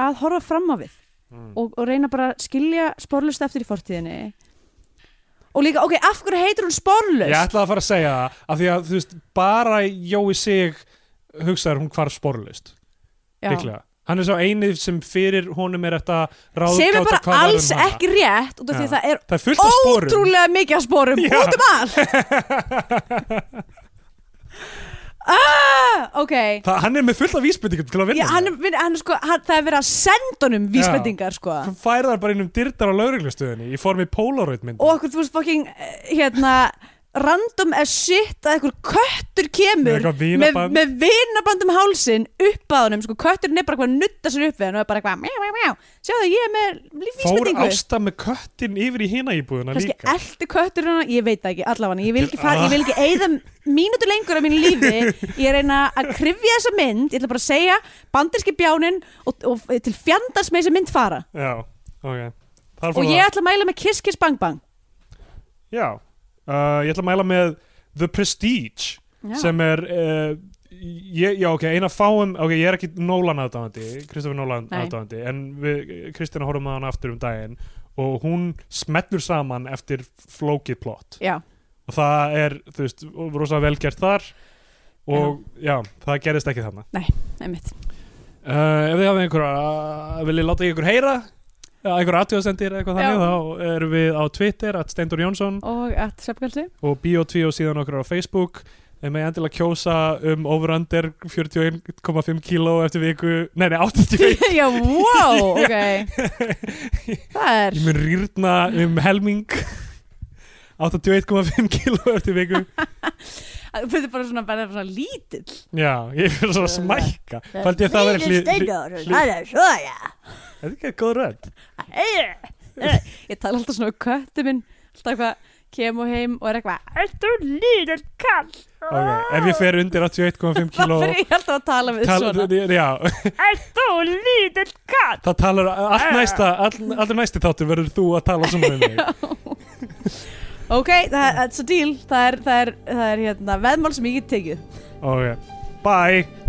að horfa fram á við Mm. og, og reyna bara að skilja sporlust eftir í fortíðinni og líka, ok, af hverju heitir hún sporlust? Ég ætlaði að fara að segja það af því að þú veist, bara Jói sig hugsaður hún hvarf sporlaust Já. líklega, Hann er sá einið sem fyrir honum er þetta ráðgáta sem er bara hvað var um alls hana. ekki rétt út af því að Já. það er Það er fullt af spórum ótrúlega mikið af spórum Já. út um allt ah, ok Það, hann er með fullt af vísbendingum til að Já, vinna hann, með. er- vin- hann, er sko, hann, það er verið að senda honum vísbendingar sko. Hann fær þar bara innum dyrtar á lauruglustöðinni í formi Polaroid mynd og okkur, þú veist, fucking eh, hérna, random as shit að einhver köttur kemur Eitthvað með, vínaband. með vinaband um hálsin upp að honum, sko, kötturinn er bara hvað nutta sér upp við hann og er bara hvað, mjá, mjá, mjá sjáðu, ég er með Fór vísbendingu ásta með köttin yfir í hina íbúðuna kannski líka Ah. eldi köttur hana, ég veit það ekki allavega, ég vil ekki fara, ég vil ekki eigða mínútu lengur af mínu lífi ég reyna að krifja þessa mynd, ég ætla bara að segja banderski bjáninn og, og til fjandars með þessa mynd fara Já, ok Þar fór og ég ætla að mæla með Kiss Kiss Bang Bang Já, uh, ég ætla að mæla með The Prestige Já. sem er uh, ég, já ok, eina fáum ok, ég er ekki Nolan aðdáðandi Kristofur Nolan Nei. aðdáðandi en við, Kristina horfum að hann aftur um daginn og hún smellur saman eftir flókið plott já, og það er, þú veist, rosa velgert þar og já, það gerist ekki þarna einmitt uh, ef þið hafið einhverja viljið láta í ykkur heyra einhverja aðtjóðsendir eitthvað Já. þannig þá erum við á Twitter at Steindur Jónsson og að sveppkjöldi og Bio2 og síðan okkur á Facebook þeir með endilega kjósa um over-under 41,5 kíló eftir viku, nei nei 81 já, wow, ok það er ég mun rýrna um helming 81,5 kíló eftir viku þú fyrir bara svona, bara svona lítill já, ég fyrir svo að smækka fældi ég það verið hlið hlið- hlið- það er svona þetta er ekki góð rödd ég tala alltaf svona um köttu minn alltaf eitthvað kem og heim og er eitthvað Ertu lítill kall ok, ef ég fer undir Ah. Það 81,5 kíló fyrir ég alltaf að tala við tal, svona já, Ertu lítill kall það talar allt Ah. næsta, all, allur næsti þáttur verður þú að tala svona um mig Ok, það er svo deal Það er, það er, það er hérna, veðmál sem ég get tekið ok, bye